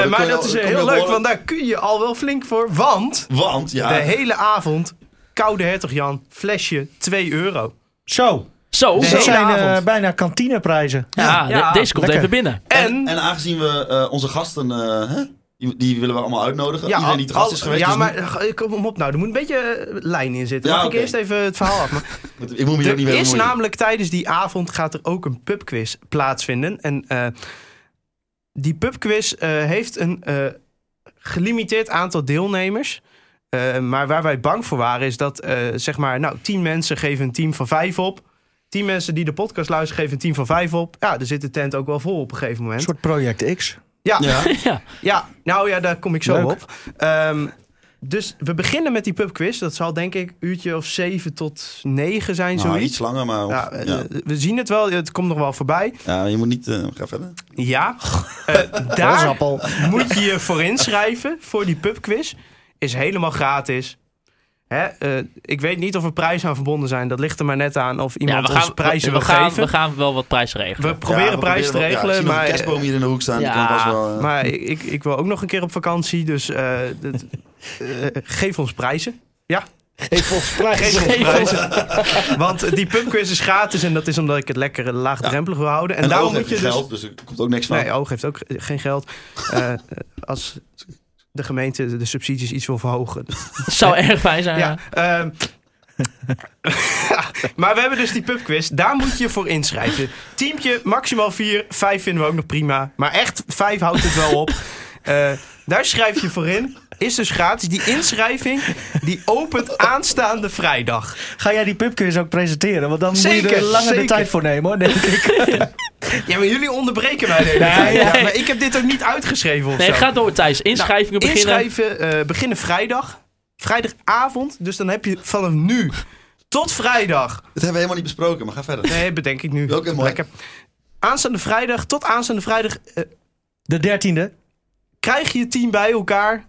Speaker 7: dan
Speaker 8: maar
Speaker 7: kun je
Speaker 8: dat
Speaker 7: al-
Speaker 8: is eh,
Speaker 7: dan kom je
Speaker 8: heel
Speaker 7: al
Speaker 8: leuk,
Speaker 7: behoorlijk-
Speaker 8: want daar kun je al wel flink voor. Want
Speaker 7: Want, ja,
Speaker 8: de hele avond, koude hertog Jan, flesje 2 euro.
Speaker 5: Zo,
Speaker 4: Zo.
Speaker 8: Nee.
Speaker 5: dat
Speaker 8: hele
Speaker 5: zijn eh,
Speaker 8: avond.
Speaker 5: bijna kantineprijzen.
Speaker 4: Ja, de-
Speaker 8: Ja,
Speaker 4: deze komt
Speaker 5: lekker.
Speaker 4: even binnen.
Speaker 8: En,
Speaker 7: en aangezien we eh, onze gasten, eh, hè, die- die willen we allemaal uitnodigen.
Speaker 8: ja,
Speaker 7: Iedereen die te gast
Speaker 8: al-
Speaker 7: is geweest.
Speaker 8: Ja,
Speaker 7: dus
Speaker 8: maar eh, kom op nou, er moet een beetje eh, lijn in zitten.
Speaker 7: Ja,
Speaker 8: Mag
Speaker 7: oké.
Speaker 8: ik eerst even het verhaal afmaken?
Speaker 7: niet- ik moet me hier ook
Speaker 8: Er
Speaker 7: niet mee
Speaker 8: is
Speaker 7: bemoeien.
Speaker 8: namelijk tijdens die avond gaat er ook een pubquiz plaatsvinden. En eh, die pubquiz eh, heeft een eh, gelimiteerd aantal deelnemers. Eh, maar waar wij bang voor waren is dat, eh, zeg maar, nou, tien mensen geven een team van vijf op. Tien mensen die de podcast luisteren geven een team van vijf op. Ja, er zit de tent ook wel vol op een gegeven moment.
Speaker 5: Een soort Project X.
Speaker 8: Ja, ja.
Speaker 7: Ja.
Speaker 4: Ja.
Speaker 8: nou ja, daar kom ik zo
Speaker 5: Leuk.
Speaker 8: op. Ehm, dus we beginnen met die pubquiz. Dat zal denk ik uurtje of zeven tot negen zijn,
Speaker 7: Nou,
Speaker 8: zoiets.
Speaker 7: iets langer, maar
Speaker 8: Ja,
Speaker 7: ja,
Speaker 8: eh, we zien het wel, het komt nog wel voorbij.
Speaker 7: Ja, je moet niet... eh, ga verder.
Speaker 8: Ja, eh, daar
Speaker 5: Rosappel.
Speaker 8: moet je je voor inschrijven voor die pubquiz. Is helemaal gratis. Hè? eh, ik weet niet of er prijzen aan verbonden zijn. Dat ligt er maar net aan of
Speaker 4: Ja,
Speaker 8: iemand
Speaker 4: we gaan,
Speaker 8: ons prijzen
Speaker 4: we, we
Speaker 8: wil
Speaker 4: gaan,
Speaker 8: geven.
Speaker 4: we
Speaker 8: We,
Speaker 4: gaan wel wat prijzen regelen.
Speaker 8: proberen
Speaker 7: Ja, we
Speaker 8: prijzen te
Speaker 7: proberen- ja, ik
Speaker 8: regelen,
Speaker 7: zie nog
Speaker 8: maar...
Speaker 7: een kerstboom hier in de hoek staan. die
Speaker 4: Ja,
Speaker 7: kan vast wel, eh,
Speaker 8: Maar ik, ik wil ook nog een keer op vakantie, dus eh, dat- eh, geef ons prijzen. Ja,
Speaker 5: Geef ons prijs.
Speaker 8: geef ons prijzen. Want die pubquiz is gratis en dat is omdat ik het lekker laagdrempelig wil houden. En,
Speaker 7: en
Speaker 8: daarom
Speaker 7: oog
Speaker 8: moet je
Speaker 7: heeft
Speaker 8: dus...
Speaker 7: geld, dus er komt ook niks van.
Speaker 8: Nee, Oog heeft ook ge- geen geld. Eh, eh, als de gemeente de- de subsidies iets wil verhogen.
Speaker 4: Zou erg fijn zijn.
Speaker 8: Ja,
Speaker 4: Ja.
Speaker 8: ehm. maar we hebben dus die pubquiz. Daar moet je voor inschrijven. Teamtje maximaal vier. Vijf vinden we ook nog prima. Maar echt, vijf houdt het wel op. Eh, daar schrijf je voor in. Is dus gratis. Die inschrijving die opent aanstaande vrijdag.
Speaker 5: Ga jij die pubquiz ook presenteren? Want dan moet je
Speaker 8: Zeker,
Speaker 5: er langer de
Speaker 8: zeker.
Speaker 5: tijd voor nemen, hoor. denk ik.
Speaker 8: Ja, maar jullie onderbreken mij de hele
Speaker 5: Nee,
Speaker 8: tijd. Ja,
Speaker 4: nee.
Speaker 8: maar ik heb dit ook niet uitgeschreven of
Speaker 4: Nee,
Speaker 8: zo.
Speaker 4: ga door Thijs. Inschrijvingen
Speaker 8: Nou,
Speaker 4: beginnen.
Speaker 8: Inschrijven eh, beginnen vrijdag. Vrijdagavond. Dus dan heb je vanaf nu tot vrijdag.
Speaker 7: Dat hebben we helemaal niet besproken, maar ga verder.
Speaker 8: Nee, bedenk ik nu.
Speaker 7: Oké, mooi.
Speaker 8: Lekker. Aanstaande vrijdag tot aanstaande vrijdag eh,
Speaker 5: De dertiende.
Speaker 8: krijg je je team bij elkaar.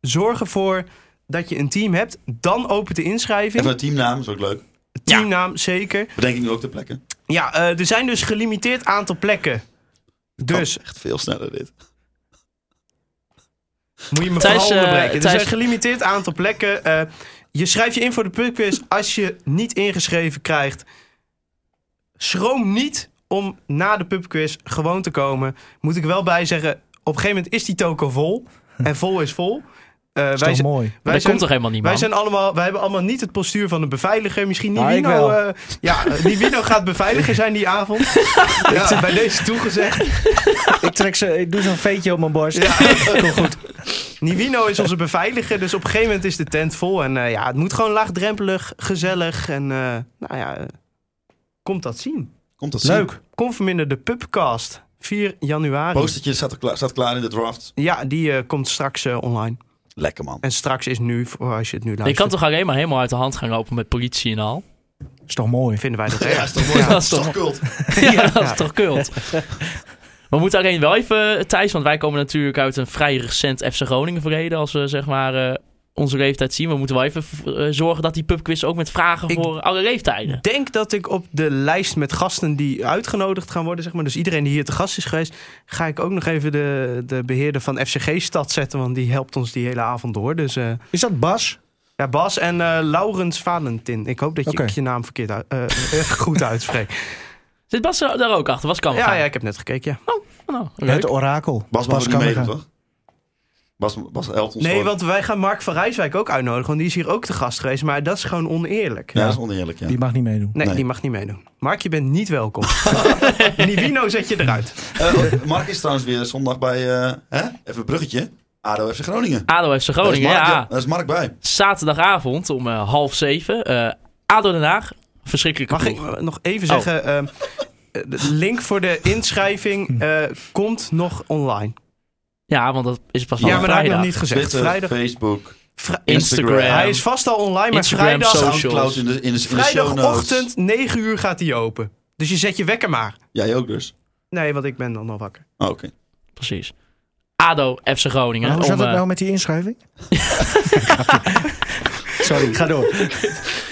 Speaker 8: Zorg ervoor dat je een team hebt. Dan open de inschrijving.
Speaker 7: Even een teamnaam, is ook leuk.
Speaker 8: Teamnaam zeker.
Speaker 7: Bedenk ik nu ook ter plekke.
Speaker 8: Ja, eh, er zijn dus gelimiteerd aantal plekken. Dus
Speaker 7: Echt veel sneller dit.
Speaker 8: Moet je me
Speaker 4: Thijs,
Speaker 8: vooral
Speaker 4: eh,
Speaker 8: onderbreken. er
Speaker 4: Thijs-
Speaker 8: zijn gelimiteerd aantal plekken. Eh, je schrijft je in voor de pubquiz. Als je niet ingeschreven krijgt, schroom niet om na de pubquiz gewoon te komen. Moet ik wel bij zeggen, op een gegeven moment is die toko vol. En vol is vol. Eh,
Speaker 5: Dat
Speaker 8: wij
Speaker 5: is
Speaker 8: zijn-
Speaker 5: toch mooi.
Speaker 8: wij
Speaker 4: Maar dat
Speaker 8: zijn-
Speaker 4: komt toch helemaal niet, man?
Speaker 8: wij, zijn allemaal, wij hebben allemaal niet het postuur van een beveiliger. Misschien
Speaker 5: Nou,
Speaker 8: Nivino,
Speaker 5: ik wel.
Speaker 8: eh, ja, eh, Nivino gaat beveiliger zijn die avond. ja. Bij deze toegezegd.
Speaker 5: Ik, trek ze, ik doe zo'n veetje op mijn borst. Komt goed.
Speaker 8: Nivino is onze beveiliger, dus op een gegeven moment is de tent vol. En eh, ja, het moet gewoon laagdrempelig, gezellig en eh, nou ja, eh, komt dat zien.
Speaker 7: Komt dat zien?
Speaker 5: Leuk.
Speaker 8: Kom verminder de pubcast, 4 januari.
Speaker 7: Postertje staat, er klaar, staat klaar in de draft.
Speaker 8: Ja, die eh, komt straks eh, online.
Speaker 7: Lekker man.
Speaker 8: En straks is nu, voor als je het nu
Speaker 4: Je
Speaker 8: luistert,
Speaker 4: kan toch alleen maar helemaal uit de hand gaan lopen met politie en al?
Speaker 5: Is toch mooi.
Speaker 8: vinden wij dat
Speaker 7: Ja,
Speaker 8: erg.
Speaker 7: is toch mooi?
Speaker 4: dat is
Speaker 7: is toch
Speaker 4: toch-
Speaker 7: cult?
Speaker 4: Ja, dat is toch kult. We moeten alleen wel even, eh, Thijs, want wij komen natuurlijk uit een vrij recent FC Groningen verleden. Als we zeg maar eh, onze leeftijd zien. We moeten wel even v- eh, zorgen dat die pubquiz ook met vragen
Speaker 8: Ik-
Speaker 4: voor alle leeftijden.
Speaker 8: Ik denk dat ik op de lijst met gasten die uitgenodigd gaan worden, zeg maar, dus iedereen die hier te gast is geweest, ga ik ook nog even de, de beheerder van FCG-stad zetten, want die helpt ons die hele avond door. Dus eh,
Speaker 5: Is dat Bas?
Speaker 8: Ja, Bas en eh, Laurens Valentin. Ik hoop dat je
Speaker 5: Oké.
Speaker 8: ik je naam verkeerd uit- eh, eh, goed uitspreekt.
Speaker 4: Zit Bas er- daar ook achter? Was kan
Speaker 8: ja, ja, ik heb net gekeken. Ja.
Speaker 4: Nou, leuk.
Speaker 5: Het orakel.
Speaker 7: Bas mag ook niet
Speaker 5: Kammerga.
Speaker 7: meedoen, toch? Bas, Bas helpt ons
Speaker 8: Nee,
Speaker 7: gewoon.
Speaker 8: want wij gaan Mark van Rijswijk ook uitnodigen. Want die is hier ook te gast geweest. Maar dat is gewoon oneerlijk.
Speaker 7: Ja, dat is oneerlijk, ja.
Speaker 5: Die mag niet meedoen.
Speaker 8: Nee,
Speaker 7: Nee.
Speaker 8: die mag niet meedoen. Mark, je bent niet welkom. Nivino zet je eruit.
Speaker 7: Eh, Mark is trouwens weer zondag bij, eh, hè? even een bruggetje, ADO FC Groningen.
Speaker 4: ADO FC
Speaker 7: Daar is
Speaker 4: Groningen,
Speaker 7: Mark- eh,
Speaker 4: ja.
Speaker 7: Daar is Mark bij.
Speaker 4: Zaterdagavond om eh, half zeven. eh, ADO Den Haag, verschrikkelijke
Speaker 8: Mag ik
Speaker 4: ploeg.
Speaker 8: eh, nog even
Speaker 7: Oh.
Speaker 8: zeggen... ehm, eh, de link voor de inschrijving eh, komt nog online.
Speaker 7: Oh,
Speaker 4: Ja, want dat is pas
Speaker 8: Ja,
Speaker 4: vanaf
Speaker 8: maar dat heb ik nog
Speaker 4: vrijdag.
Speaker 8: niet gezegd.
Speaker 7: Twitter,
Speaker 8: Vrijdag.
Speaker 7: Facebook,
Speaker 8: vrij-
Speaker 4: Instagram.
Speaker 7: Instagram.
Speaker 8: hij is vast al online, maar
Speaker 4: Instagram,
Speaker 8: vrijdag,
Speaker 4: social.
Speaker 7: Soundcloud in de, in de, in de show notes.
Speaker 8: vrijdagochtend 9 uur gaat hij open. Dus je zet je wekker maar.
Speaker 7: Jij ook dus?
Speaker 8: Nee, want ik ben dan al wakker.
Speaker 7: Oh, Oké.
Speaker 4: Precies. ADO FC Groningen.
Speaker 5: Maar hoe
Speaker 4: om,
Speaker 5: zat het
Speaker 4: eh,
Speaker 5: nou met die inschrijving? Sorry, ga door.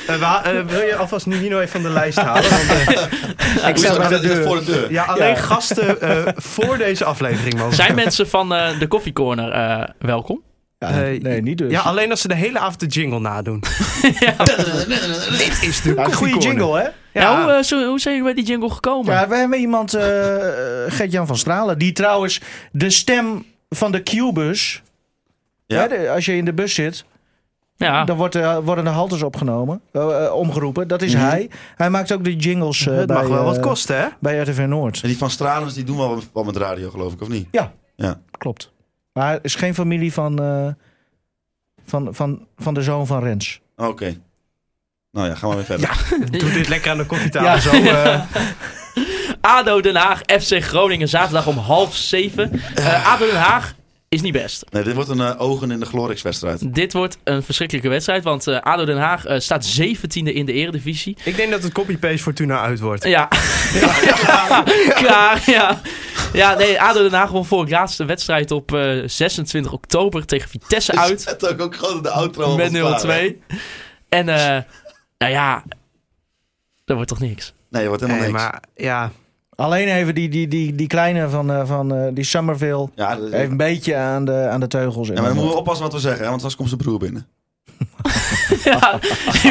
Speaker 8: Eh, wa- eh, wil je alvast Nivino even van de lijst halen? Want, eh,
Speaker 5: Ik
Speaker 7: Hoe
Speaker 5: sta
Speaker 7: is
Speaker 5: bij de
Speaker 7: dat- dat is
Speaker 5: deur.
Speaker 7: voor de deur.
Speaker 8: ja, alleen gasten eh, voor deze aflevering, man.
Speaker 4: Zijn mensen van eh, de Coffee Corner eh, welkom?
Speaker 5: Ja,
Speaker 8: Eh,
Speaker 5: nee, niet dus.
Speaker 8: Ja, alleen als ze de hele avond de jingle nadoen. Dit is de
Speaker 5: Ja, een goede jingle, hè?
Speaker 8: Ja,
Speaker 4: Nou, hoe, eh, zo- hoe zijn jullie bij die jingle gekomen?
Speaker 5: Ja, we hebben iemand, eh, eh, Gert-Jan van Stralen, die trouwens de stem van de Q-bus...
Speaker 7: Ja.
Speaker 5: hè, de- als je in de bus zit,
Speaker 4: Ja.
Speaker 5: dan wordt, eh, worden de halters opgenomen, eh, eh, omgeroepen. Dat is hij. Hij maakt ook de jingles eh,
Speaker 8: het
Speaker 5: bij,
Speaker 8: mag wel wat
Speaker 5: eh,
Speaker 8: kosten, hè?
Speaker 5: bij RTV Noord.
Speaker 7: En die van Stralens, die doen wel wat- wat met radio, geloof ik, of niet?
Speaker 5: Ja.
Speaker 7: Ja.
Speaker 5: Klopt. Maar hij is geen familie van, eh, van, van, van de zoon van Rens.
Speaker 7: Oh, Oké. Nou ja, gaan we weer verder.
Speaker 8: Doe dit lekker aan de koffietafel.
Speaker 5: Ja.
Speaker 8: Zo, eh,
Speaker 4: ADO Den Haag, FC Groningen, zaterdag om half zeven. Eh, ADO Den Haag is niet best.
Speaker 7: Nee, dit wordt een eh, ogen in de Glorix-wedstrijd.
Speaker 4: Dit wordt een verschrikkelijke wedstrijd, want eh, ADO Den Haag eh, staat 17e in de eredivisie.
Speaker 8: ik denk dat het copy-paste Fortuna uit wordt.
Speaker 4: Ja, klaar, ja. Ja, nee, ADO Den Haag won voor het laatste wedstrijd op eh, 26 oktober tegen Vitesse uit.
Speaker 7: Zet ook, ook gewoon de outro al
Speaker 4: Met
Speaker 7: klaar, hè?
Speaker 4: 0-2. En, eh, nou ja, dat wordt toch niks.
Speaker 7: Nee, wordt helemaal
Speaker 8: Nee,
Speaker 7: niks.
Speaker 8: maar ja,
Speaker 5: Alleen even die, die, die, die kleine van, eh, van eh, die Somerville.
Speaker 7: Ja, dat-
Speaker 5: Even een beetje aan de, aan de teugels.
Speaker 7: Ja, maar dan moeten we oppassen wat we zeggen, hè, want straks komt zijn broer binnen.
Speaker 4: Ja,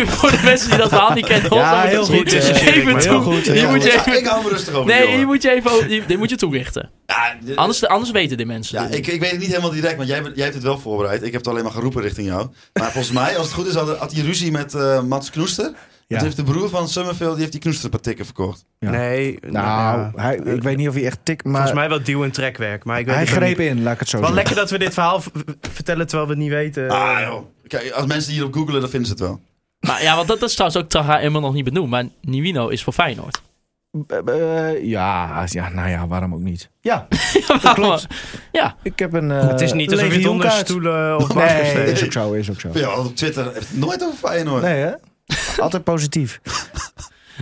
Speaker 4: voor de mensen die dat verhaal niet kennen,
Speaker 5: Ja,
Speaker 4: Holland,
Speaker 5: heel
Speaker 4: dat moet
Speaker 5: goed,
Speaker 4: je
Speaker 5: eh,
Speaker 4: even
Speaker 5: heel
Speaker 4: toe.
Speaker 5: goed,
Speaker 4: Je
Speaker 5: heel
Speaker 4: moet
Speaker 5: goed.
Speaker 4: je
Speaker 7: Ja,
Speaker 4: even-
Speaker 7: ik hou me rustig over.
Speaker 4: Nee,
Speaker 7: die
Speaker 4: hier
Speaker 7: jongen.
Speaker 4: moet je even over- die- dit moet je toelichten.
Speaker 7: Ja, dit-
Speaker 4: Anders, anders weten de mensen.
Speaker 7: Ja,
Speaker 4: dit
Speaker 7: ik,
Speaker 4: niet.
Speaker 7: ik weet het niet helemaal direct, want jij, bent- jij hebt het wel voorbereid. Ik heb het alleen maar geroepen richting jou. Maar volgens mij, als het goed is, had, had hij ruzie met eh, Mats Knoester. Dat heeft de broer van Summerfield, die heeft die Knoester-partikken verkocht.
Speaker 5: Ja.
Speaker 8: nee. ja.
Speaker 5: Nou, hij, ik weet niet of hij echt tik, maar
Speaker 8: Volgens mij wel duw- en trekwerk. Maar ik weet
Speaker 5: hij
Speaker 8: het ook
Speaker 5: greep
Speaker 8: niet.
Speaker 5: in, laat ik het zo
Speaker 8: Wel
Speaker 5: zeggen.
Speaker 8: lekker dat we dit verhaal v- vertellen terwijl we het niet weten.
Speaker 5: Eh.
Speaker 7: Ah joh. Kijk, als mensen hierop googelen, dan vinden ze het wel.
Speaker 4: Maar ja, want dat, dat is trouwens ook Traga helemaal nog niet benoemd. Maar Nivino is voor Feyenoord.
Speaker 5: Eh, eh, ja, ja, nou ja, waarom ook niet? Ja,
Speaker 4: Dat
Speaker 5: klopt. ik heb een eh
Speaker 8: het is niet alsof je het onder
Speaker 5: legioenkaart.
Speaker 8: stoelen of banken
Speaker 5: Nee,
Speaker 8: steekt.
Speaker 5: is ook zo, is ook zo.
Speaker 7: Ja, want op Twitter heeft het nooit over Feyenoord.
Speaker 5: Nee, hè? Altijd positief.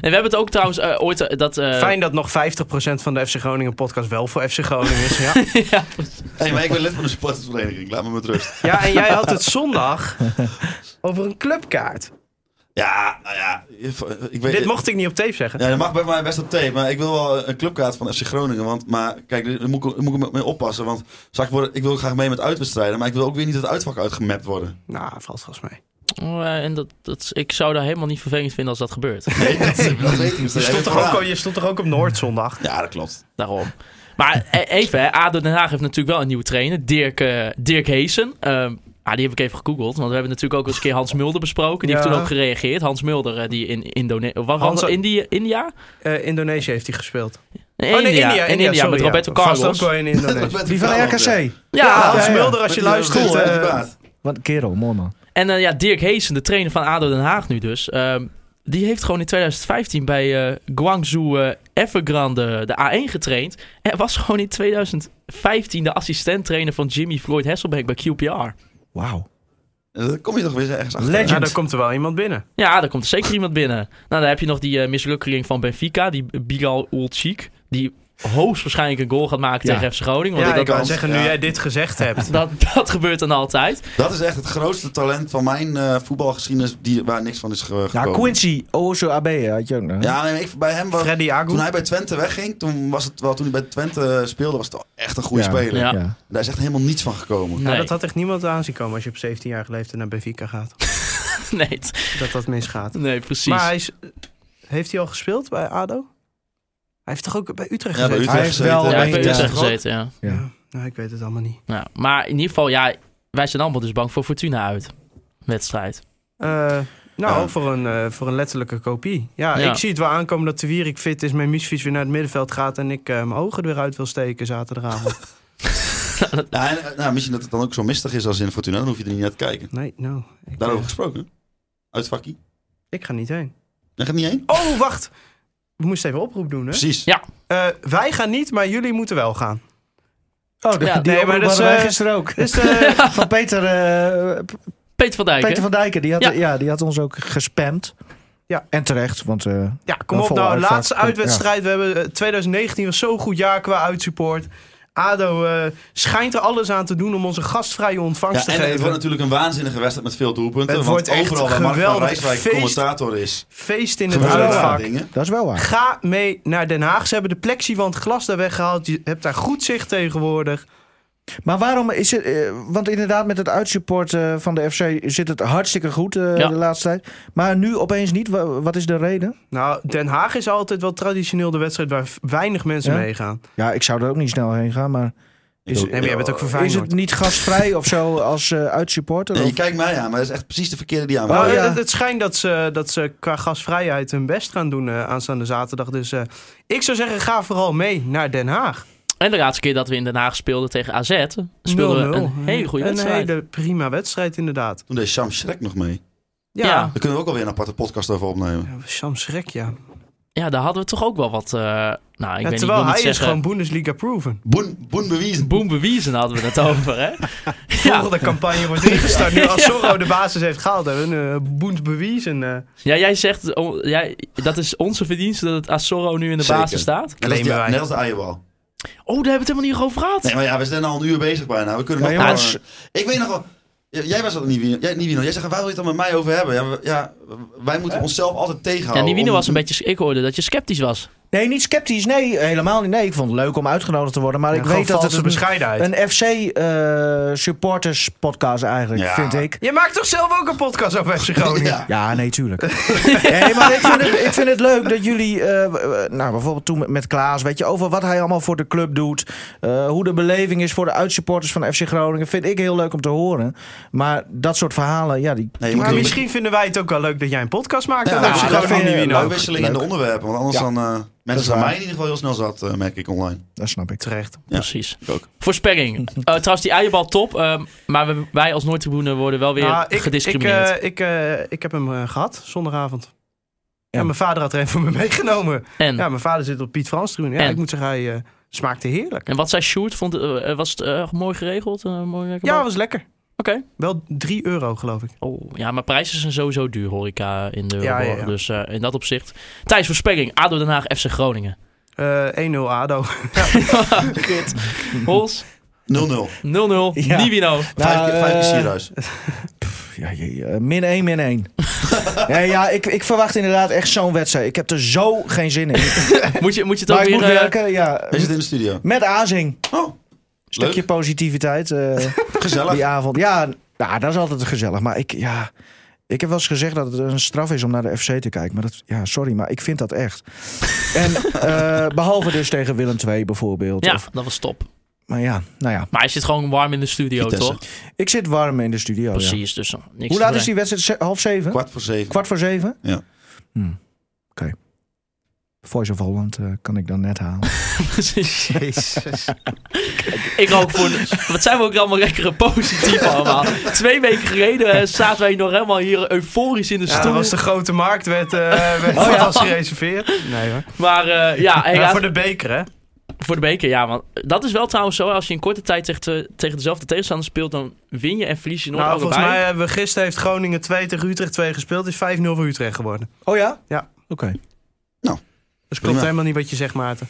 Speaker 4: En we hebben het ook trouwens eh, ooit... eh, dat, eh,
Speaker 8: Fijn dat nog 50% van de FC Groningen podcast wel voor FC Groningen is. Ja,
Speaker 4: ja,
Speaker 7: Hey, maar ik ben lid van de supportersvereniging, laat me met rust.
Speaker 8: ja en jij had het zondag over een clubkaart.
Speaker 7: Ja, nou ja. Ik weet,
Speaker 8: Dit mocht ik niet op tape zeggen.
Speaker 7: Ja, dat mag bij mij best op tape, maar ik wil wel een clubkaart van FC Groningen. Want, maar kijk, daar moet ik, daar moet ik mee oppassen. Want straks word, ik wil graag mee met uitwedstrijden, maar ik wil ook weer niet dat het uitvak uitgemapt worden.
Speaker 8: Nou, valt volgens mij.
Speaker 4: Oh, eh, en dat, dat, ik zou daar helemaal niet vervelend vinden als dat gebeurt.
Speaker 7: Nee, dat, dat weet ik niet.
Speaker 8: Je stond, toch ook, al- je stond toch ook op Noord zondag?
Speaker 7: Ja, dat klopt.
Speaker 4: Daarom. Maar eh, even, hè, ADO Den Haag heeft natuurlijk wel een nieuwe trainer. Dirk, eh Dirk Heesen. Ehm, ah, die heb ik even gegoogeld. Want we hebben natuurlijk ook eens een keer Hans Mulder besproken. Die heeft
Speaker 8: Ja.
Speaker 4: toen ook gereageerd. Hans Mulder, eh, die in Indonesië... Wat
Speaker 8: Hans-
Speaker 4: was het? India? India?
Speaker 8: Eh, Indonesië heeft hij gespeeld. Oh,
Speaker 4: Nee, In India,
Speaker 8: sorry,
Speaker 4: met
Speaker 8: ja.
Speaker 4: Roberto
Speaker 8: Vast
Speaker 4: Carlos.
Speaker 8: ook wel in Indonesië.
Speaker 5: Die van RKC.
Speaker 4: Ja,
Speaker 8: Ja, Hans
Speaker 5: Ah, ja, ja.
Speaker 8: Mulder, als je luistert. eh,
Speaker 5: Wat kerel, mooi man.
Speaker 4: En eh, ja, Dirk Heesen, de trainer van ADO Den Haag nu dus... ehm, die heeft gewoon in 2015 bij eh Guangzhou eh, Evergrande de A1 getraind. En was gewoon in 2015 de assistent-trainer van Jimmy Floyd Hasselbeck bij QPR.
Speaker 5: Wauw.
Speaker 7: Eh, Dan kom je toch weer ergens achter.
Speaker 8: ja,
Speaker 5: Legend.
Speaker 8: daar komt er wel iemand binnen.
Speaker 4: Ja, daar komt zeker iemand binnen. Nou, dan heb je nog die eh, mislukkeling van Benfica, die Bilal Ulchik, die hoogstwaarschijnlijk een goal gaat maken
Speaker 5: Ja.
Speaker 4: tegen FC Groningen.
Speaker 8: Ja,
Speaker 4: Want
Speaker 8: ik
Speaker 4: dat,
Speaker 8: wou
Speaker 7: kans.
Speaker 8: zeggen, nu
Speaker 7: Ja.
Speaker 8: jij dit gezegd hebt.
Speaker 4: dat, dat gebeurt dan altijd.
Speaker 7: Dat is echt het grootste talent van mijn eh, voetbalgeschiedenis die, waar niks van is ge
Speaker 5: Ja,
Speaker 7: gekomen.
Speaker 5: Quincy, Oso AB had je ook nog.
Speaker 7: Ja, nee, ik, bij hem was,
Speaker 8: Freddy Agu.
Speaker 7: toen hij bij Twente wegging, toen, was het wel, toen hij bij Twente speelde, was het wel echt een goede
Speaker 5: Ja.
Speaker 7: speler.
Speaker 4: Ja.
Speaker 7: Daar is echt helemaal niets van gekomen.
Speaker 8: Nou,
Speaker 4: Nee.
Speaker 8: dat had echt niemand aanzien komen als je op 17-jarige leeftijd naar Benfica gaat.
Speaker 4: Nee, t-
Speaker 8: Dat dat misgaat.
Speaker 4: nee precies.
Speaker 8: Maar hij is, heeft hij al gespeeld bij ADO? Hij heeft toch ook bij Utrecht
Speaker 7: Ja, bij
Speaker 8: gezeten?
Speaker 7: Utrecht
Speaker 5: Hij is wel
Speaker 4: ja,
Speaker 7: gezeten.
Speaker 4: hij heeft
Speaker 5: Ja.
Speaker 4: bij Utrecht gezeten, ja.
Speaker 5: Ja.
Speaker 8: Nou, ik weet het allemaal niet.
Speaker 4: Ja, Maar in ieder geval, ja, wij zijn allemaal dus bang voor Fortuna uit. Wedstrijd.
Speaker 8: Eh, nou,
Speaker 7: Ja.
Speaker 8: voor, een, eh, voor een letterlijke kopie. Ja,
Speaker 4: Ja.
Speaker 8: ik zie het wel aankomen dat de Wierik fit is, mijn misfiets weer naar het middenveld gaat en ik eh, mijn ogen er weer uit wil steken zaterdagavond.
Speaker 7: Ja, en, eh, nou, misschien dat het dan ook zo mistig is als in Fortuna, dan hoef je er niet naar te kijken.
Speaker 8: nee, nou. Ik,
Speaker 7: Daarover gesproken. Uit vakkie.
Speaker 8: ik ga niet heen.
Speaker 7: Daar gaat niet heen.
Speaker 8: Oh, wacht! We moesten even oproep doen, hè?
Speaker 7: Precies.
Speaker 4: Ja.
Speaker 8: Eh, wij gaan niet, maar jullie moeten wel gaan.
Speaker 5: Oh, de,
Speaker 4: Ja,
Speaker 5: die
Speaker 8: nee,
Speaker 5: nee,
Speaker 8: maar dat is, eh,
Speaker 5: gisteren ook.
Speaker 8: Dus eh,
Speaker 5: Van Peter, eh,
Speaker 4: Peter van Dijk.
Speaker 5: Peter
Speaker 4: hè?
Speaker 5: van Dijken, die had,
Speaker 4: Ja.
Speaker 5: ja. die had ons ook gespamd.
Speaker 8: Ja.
Speaker 5: En terecht, want eh,
Speaker 8: ja, kom
Speaker 5: Een
Speaker 8: op
Speaker 5: volle
Speaker 8: nou.
Speaker 5: uitvaart.
Speaker 8: Laatste uitwedstrijd. We hebben eh, 2019 was zo'n goed jaar qua uitsupport. ADO eh, schijnt er alles aan te doen om onze gastvrije ontvangst
Speaker 7: Ja,
Speaker 8: te
Speaker 7: en
Speaker 8: geven.
Speaker 7: het wordt natuurlijk een waanzinnige wedstrijd met veel doelpunten.
Speaker 8: Het
Speaker 7: want
Speaker 8: wordt echt
Speaker 7: overal waar Mark van
Speaker 8: geweldig
Speaker 7: Rijswijk
Speaker 8: feest.
Speaker 7: commentator is,
Speaker 8: Feest in het
Speaker 7: gebeuren daar
Speaker 8: uitvak.
Speaker 7: dingen.
Speaker 5: dat is wel waar.
Speaker 8: Ga mee naar Den Haag. Ze hebben de plexiwand glas daar weggehaald. Je hebt daar goed zicht tegenwoordig.
Speaker 5: Maar waarom is het... eh, want inderdaad, met het uitsupport eh, van de FC zit het hartstikke goed eh,
Speaker 4: Ja.
Speaker 5: de laatste tijd. Maar nu opeens niet. Wa- Wat is de reden?
Speaker 8: Nou, Den Haag is altijd wel traditioneel de wedstrijd waar v- weinig mensen
Speaker 5: Ja?
Speaker 8: meegaan.
Speaker 5: Ja, ik zou er ook niet snel heen gaan, maar... Is,
Speaker 8: Nee, maar jij bent ook voor
Speaker 5: is
Speaker 8: Feyenoord.
Speaker 5: het niet gastvrij of zo als eh uitsupporter?
Speaker 7: Nee,
Speaker 5: Of-
Speaker 7: je kijkt mij aan, maar dat is echt precies de verkeerde die aan.
Speaker 8: Nou,
Speaker 5: Oh, ja.
Speaker 8: het, het schijnt dat ze, dat ze qua gasvrijheid hun best gaan doen eh, aanstaande zaterdag. Dus eh, ik zou zeggen, ga vooral mee naar Den Haag. 0-0.
Speaker 4: En de laatste keer dat we in Den Haag speelden tegen AZ, speelden we een hele goede
Speaker 8: Een
Speaker 4: wedstrijd.
Speaker 8: hele prima wedstrijd inderdaad.
Speaker 7: Toen deed Sam Schrek nog mee.
Speaker 8: Ja,
Speaker 4: Ja.
Speaker 8: ja.
Speaker 7: Daar kunnen we ook alweer een aparte podcast over opnemen.
Speaker 8: Sam Schrek, ja.
Speaker 4: Ja, daar hadden we toch ook wel wat... eh, nou, ik
Speaker 8: Ja,
Speaker 4: weet
Speaker 8: terwijl
Speaker 4: niet, ik wil
Speaker 8: hij
Speaker 4: niet
Speaker 8: is gewoon
Speaker 4: zeggen...
Speaker 8: Bundesliga-proven.
Speaker 7: Boen, boen bewezen.
Speaker 4: Boem bewezen hadden we het over, hè? Ja.
Speaker 8: Volgende campagne wordt ingestart. Nu als Zorro de basis heeft gehaald, hebben we een eh, Bund bewezen. eh.
Speaker 4: ja, jij zegt... oh, jij, dat is onze verdienste dat het Azorro nu in de
Speaker 7: Zeker.
Speaker 4: basis staat.
Speaker 7: Net als, die,
Speaker 8: Claimen wij.
Speaker 7: net als de eierbal.
Speaker 4: Oh, daar hebben we het helemaal niet over gehad.
Speaker 7: Nee, maar ja, we zijn al een uur bezig bijna. We kunnen
Speaker 5: Ja,
Speaker 7: nog maar-
Speaker 5: jongens.
Speaker 7: Ik weet nog wel... J- Jij was dat niet, Wiener. Jij, niet Wiener. Jij zegt, waar wil je het dan met mij over hebben? Ja, we- ja wij moeten onszelf altijd tegenhouden.
Speaker 4: ja, die Wiener
Speaker 7: Oh, om-
Speaker 4: was een beetje... Ik hoorde dat je sceptisch was.
Speaker 5: Nee, niet sceptisch. Nee, helemaal niet. Nee, ik vond het leuk om uitgenodigd te worden. Maar ik weet dat het
Speaker 8: een
Speaker 5: een,
Speaker 8: bescheidenheid.
Speaker 5: een FC eh, supporters podcast eigenlijk,
Speaker 7: Ja.
Speaker 5: vind ik.
Speaker 8: Je maakt toch zelf ook een podcast over FC Groningen?
Speaker 7: Ja.
Speaker 5: Ja, nee, tuurlijk. nee, maar ik vind, het, ik vind het leuk dat jullie, eh, w- w- nou bijvoorbeeld toen met, met Klaas, weet je, over wat hij allemaal voor de club doet, eh, hoe de beleving is voor de uitsupporters van FC Groningen, vind ik heel leuk om te horen. Maar dat soort verhalen, ja, die.
Speaker 7: Nee, je moet
Speaker 8: Maar
Speaker 7: een
Speaker 8: misschien vinden wij het ook wel leuk dat jij een podcast maakt.
Speaker 7: Ja,
Speaker 8: over FC
Speaker 7: nou, dat
Speaker 8: Groningen.
Speaker 5: vind
Speaker 7: vind
Speaker 5: je
Speaker 7: ik
Speaker 5: leuk.
Speaker 7: een wisseling in de onderwerpen. Want anders
Speaker 5: Ja.
Speaker 7: dan... eh, mensen
Speaker 5: is
Speaker 7: zijn
Speaker 5: waar.
Speaker 7: mij in ieder geval heel snel zat, eh, merk ik online.
Speaker 5: Dat snap ik.
Speaker 8: Terecht.
Speaker 7: Ja,
Speaker 4: Precies.
Speaker 7: ik ook.
Speaker 4: Voorspelling. Eh, trouwens, die eierbal top. ehm, maar we- wij als Noordtribune worden wel weer
Speaker 8: Nou, ik, ik,
Speaker 4: gediscrimineerd.
Speaker 8: eh, ik, eh, ik heb hem eh, gehad zondagavond.
Speaker 5: Ja.
Speaker 8: Ja, mijn vader had er een voor me meegenomen.
Speaker 4: en,
Speaker 8: Ja, mijn vader zit op Piet Frans tribune. Ja,
Speaker 4: Hm. En?
Speaker 8: ik moet zeggen, hij eh, smaakte heerlijk.
Speaker 4: en wat zei Sjoerd? Vond, eh, eh, was het eh, mooi geregeld? Eh, mooi lekker
Speaker 8: Ja,
Speaker 4: bal?
Speaker 8: was lekker.
Speaker 4: Oké.
Speaker 8: Wel 3 euro, geloof ik.
Speaker 4: Oh, ja, maar prijzen zijn sowieso duur, horeca in de
Speaker 8: Ja,
Speaker 4: Euroborg.
Speaker 8: ja, ja.
Speaker 4: Dus eh, in dat opzicht. Thijs, voorspelling. ADO Den Haag, FC Groningen.
Speaker 8: Eh, 1-0 ADO.
Speaker 4: Kut. Hols,
Speaker 7: 0-0.
Speaker 4: 0-0.
Speaker 5: Ja.
Speaker 4: Nivino.
Speaker 7: Vijf keer- vijf keer
Speaker 5: eh,
Speaker 7: Sierhuis.
Speaker 5: Ja, je- je- min 1, min 1. nee, ja, ik, ik verwacht inderdaad echt zo'n wedstrijd. Ik heb er zo geen zin in.
Speaker 4: Moet je, moet je het ook
Speaker 5: Maar ik moet
Speaker 4: weer... eh,
Speaker 5: werken, ja.
Speaker 7: Hij zit in de studio.
Speaker 5: Met Azing.
Speaker 7: Oh,
Speaker 5: Stukje
Speaker 7: Leuk.
Speaker 5: positiviteit eh,
Speaker 7: gezellig.
Speaker 5: die avond. Ja, nou, dat is altijd gezellig. Maar ik, ja, ik heb wel eens gezegd dat het een straf is om naar de FC te kijken. Maar dat, ja, sorry, maar ik vind dat echt. En eh, behalve dus tegen Willem II bijvoorbeeld.
Speaker 4: ja,
Speaker 5: Of,
Speaker 4: dat was top.
Speaker 5: maar ja, nou ja.
Speaker 4: Maar hij zit gewoon warm in de studio,
Speaker 7: Vitesse. Oh,
Speaker 4: toch?
Speaker 5: Ik zit warm in de studio. ja.
Speaker 4: Precies, dus eh, niks
Speaker 5: Hoe
Speaker 4: te
Speaker 5: laat is
Speaker 4: ver-
Speaker 5: die wedstrijd? Ze- Half zeven?
Speaker 7: Kwart voor zeven.
Speaker 5: Kwart voor zeven?
Speaker 7: Ja.
Speaker 5: Hmm, Oké. Voice of Holland eh, kan ik dan net halen.
Speaker 4: Precies. Ik ook voor. Wat zijn we ook allemaal lekkere positief allemaal. Twee weken geleden eh, zaten wij nog helemaal hier euforisch in de
Speaker 8: Ja,
Speaker 4: stoel.
Speaker 8: dat was de grote markt, werd, eh, werd
Speaker 4: Oh, ja.
Speaker 8: was gereserveerd. Nee hoor.
Speaker 4: Maar eh, ja,
Speaker 8: Ja,
Speaker 4: helaas-
Speaker 8: voor de beker, hè?
Speaker 4: Voor de beker, ja. Want dat is wel trouwens zo. Als je in korte tijd tegen, te- tegen dezelfde tegenstander speelt, dan win je en verlies je nooit
Speaker 8: Nou, volgens
Speaker 4: allebei.
Speaker 8: mij hebben we gisteren heeft Groningen 2 tegen Utrecht 2 gespeeld. Het is 5-0 voor Utrecht geworden.
Speaker 5: Oh ja?
Speaker 8: Ja.
Speaker 5: Oké.
Speaker 8: Dus klopt
Speaker 7: Prima.
Speaker 8: helemaal niet wat je zegt, Maarten.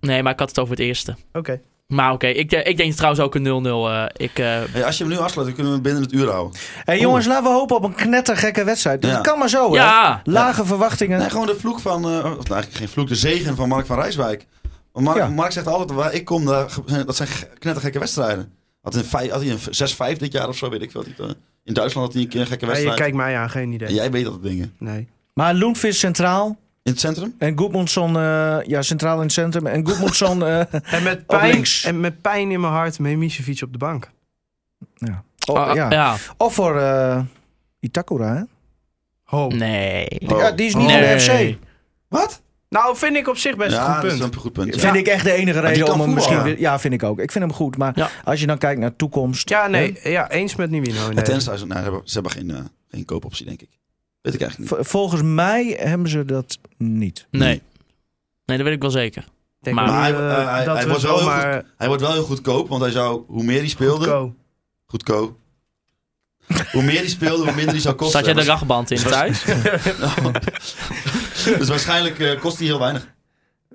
Speaker 4: Nee, maar ik had het over het eerste.
Speaker 8: Oké.
Speaker 4: Maar oké, ik, eh, ik denk trouwens ook een 0-0. eh, ik, eh,
Speaker 7: Hey, als je hem nu afsluit, dan kunnen we hem binnen het uur houden.
Speaker 5: Hey, jongens, laten we hopen op een knettergekke wedstrijd.
Speaker 7: Ja.
Speaker 5: Dat kan maar zo, Oh, hè?
Speaker 4: ja,
Speaker 5: Lage verwachtingen.
Speaker 7: Nee, gewoon de vloek van, eh, of nou, eigenlijk geen vloek, de zegen van Mark van Rijswijk. Want Mark,
Speaker 5: Ja.
Speaker 7: Mark zegt altijd, waar ik kom, daar, ge- zijn- dat zijn ge- knettergekke wedstrijden. Had, een vij- had hij een 6-5 dit jaar of zo, weet ik veel. Die- eh, In Duitsland had hij een keer een gekke
Speaker 8: Ja, je
Speaker 7: wedstrijd.
Speaker 8: kijkt mij aan, geen idee.
Speaker 7: En jij weet dat soort dingen.
Speaker 8: Nee.
Speaker 5: Maar Loenvis centraal
Speaker 7: In het centrum?
Speaker 5: en Goedmundsson eh, ja, centraal in het centrum. En Goedmundsson eh,
Speaker 8: En met
Speaker 5: Op
Speaker 8: pijn,
Speaker 5: links.
Speaker 8: en met pijn in mijn hart, Memisevic op de bank.
Speaker 5: Oh,
Speaker 4: Ah,
Speaker 5: ja.
Speaker 4: ja.
Speaker 5: Of voor eh, Itakura, hè?
Speaker 8: Ho.
Speaker 4: Nee.
Speaker 5: Die-
Speaker 7: Oh.
Speaker 5: Ja, die is niet
Speaker 4: Nee.
Speaker 5: voor FC.
Speaker 7: Wat?
Speaker 8: Nou, vind ik op zich best een
Speaker 7: ja,
Speaker 8: goed
Speaker 7: dat is
Speaker 8: punt.
Speaker 7: een goed punt.
Speaker 5: Vind
Speaker 7: ja.
Speaker 5: ik echt de enige
Speaker 7: die
Speaker 5: reden
Speaker 7: kan
Speaker 5: om hem
Speaker 7: voetballen.
Speaker 5: misschien... weer- Ja, vind ik ook. Ik vind hem goed. Maar
Speaker 4: Ja.
Speaker 5: als je dan kijkt naar toekomst...
Speaker 8: Ja,
Speaker 5: hè,
Speaker 8: nee, ja, eens met Nivino.
Speaker 7: Ja,
Speaker 8: Nee.
Speaker 7: tenzij ze, nou, ze hebben, ze hebben geen, eh, geen koopoptie, denk ik. Weet ik eigenlijk niet.
Speaker 5: v- Volgens mij hebben ze dat niet.
Speaker 4: Nee. Nee, dat weet ik wel zeker.
Speaker 8: Ik denk
Speaker 4: Maar
Speaker 8: ook,
Speaker 7: hij-
Speaker 8: eh,
Speaker 7: hij- hij-
Speaker 8: dat
Speaker 7: hij
Speaker 8: we
Speaker 7: wordt wel heel
Speaker 8: zomaar
Speaker 7: Hij wordt wel heel goedkoop, want hij zou, hoe meer hij speelde,
Speaker 8: Go.
Speaker 7: goedkoop. hoe meer hij speelde, hoe minder hij zou kosten.
Speaker 4: Zat jij de
Speaker 7: Dus-
Speaker 4: rachtband in thuis?
Speaker 7: dus waarschijnlijk eh, kost hij heel weinig.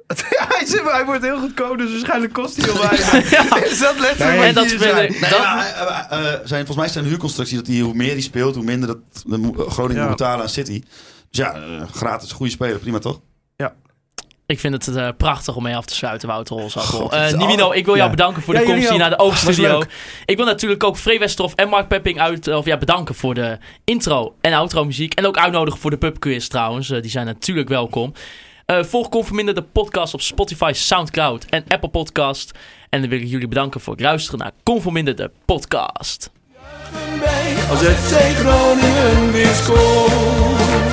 Speaker 8: hij, zit- hij wordt heel goedkoop, dus waarschijnlijk kost hij heel weinig. Is dat letterlijk
Speaker 4: en
Speaker 8: wat
Speaker 4: dat
Speaker 8: hier
Speaker 4: speel
Speaker 8: zei?
Speaker 4: ik.
Speaker 7: Nee,
Speaker 4: dat-
Speaker 7: maar, eh, eh, eh, zijn, volgens mij zijn de huurconstructie dat hij, hoe meer hij speelt, hoe minder dat de mo- eh, Groningen
Speaker 8: Ja.
Speaker 7: moet betalen aan City. Dus ja, eh, gratis, goede speler, prima toch?
Speaker 4: Ik vind het eh, prachtig om mee af te sluiten, Wouter Holzappel.
Speaker 7: God,
Speaker 4: Eh
Speaker 7: het is
Speaker 4: Nivino,
Speaker 7: allemaal-
Speaker 4: ik wil jou
Speaker 5: Ja.
Speaker 4: bedanken voor de
Speaker 5: Ja, jullie
Speaker 4: komst hier
Speaker 5: ook.
Speaker 4: naar de Oogstudio.
Speaker 5: Was
Speaker 4: Ik wil natuurlijk ook Free Westerhof en Mark Pepping uit, of ja, bedanken voor de intro en outro muziek. En ook uitnodigen voor de pubquiz trouwens. Eh, die zijn natuurlijk welkom. Eh volg Conforminder de podcast op Spotify, Soundcloud en Apple Podcast. En dan wil ik jullie bedanken voor het luisteren naar Conforminder de podcast.
Speaker 1: Als het FC Groningen weer scoort.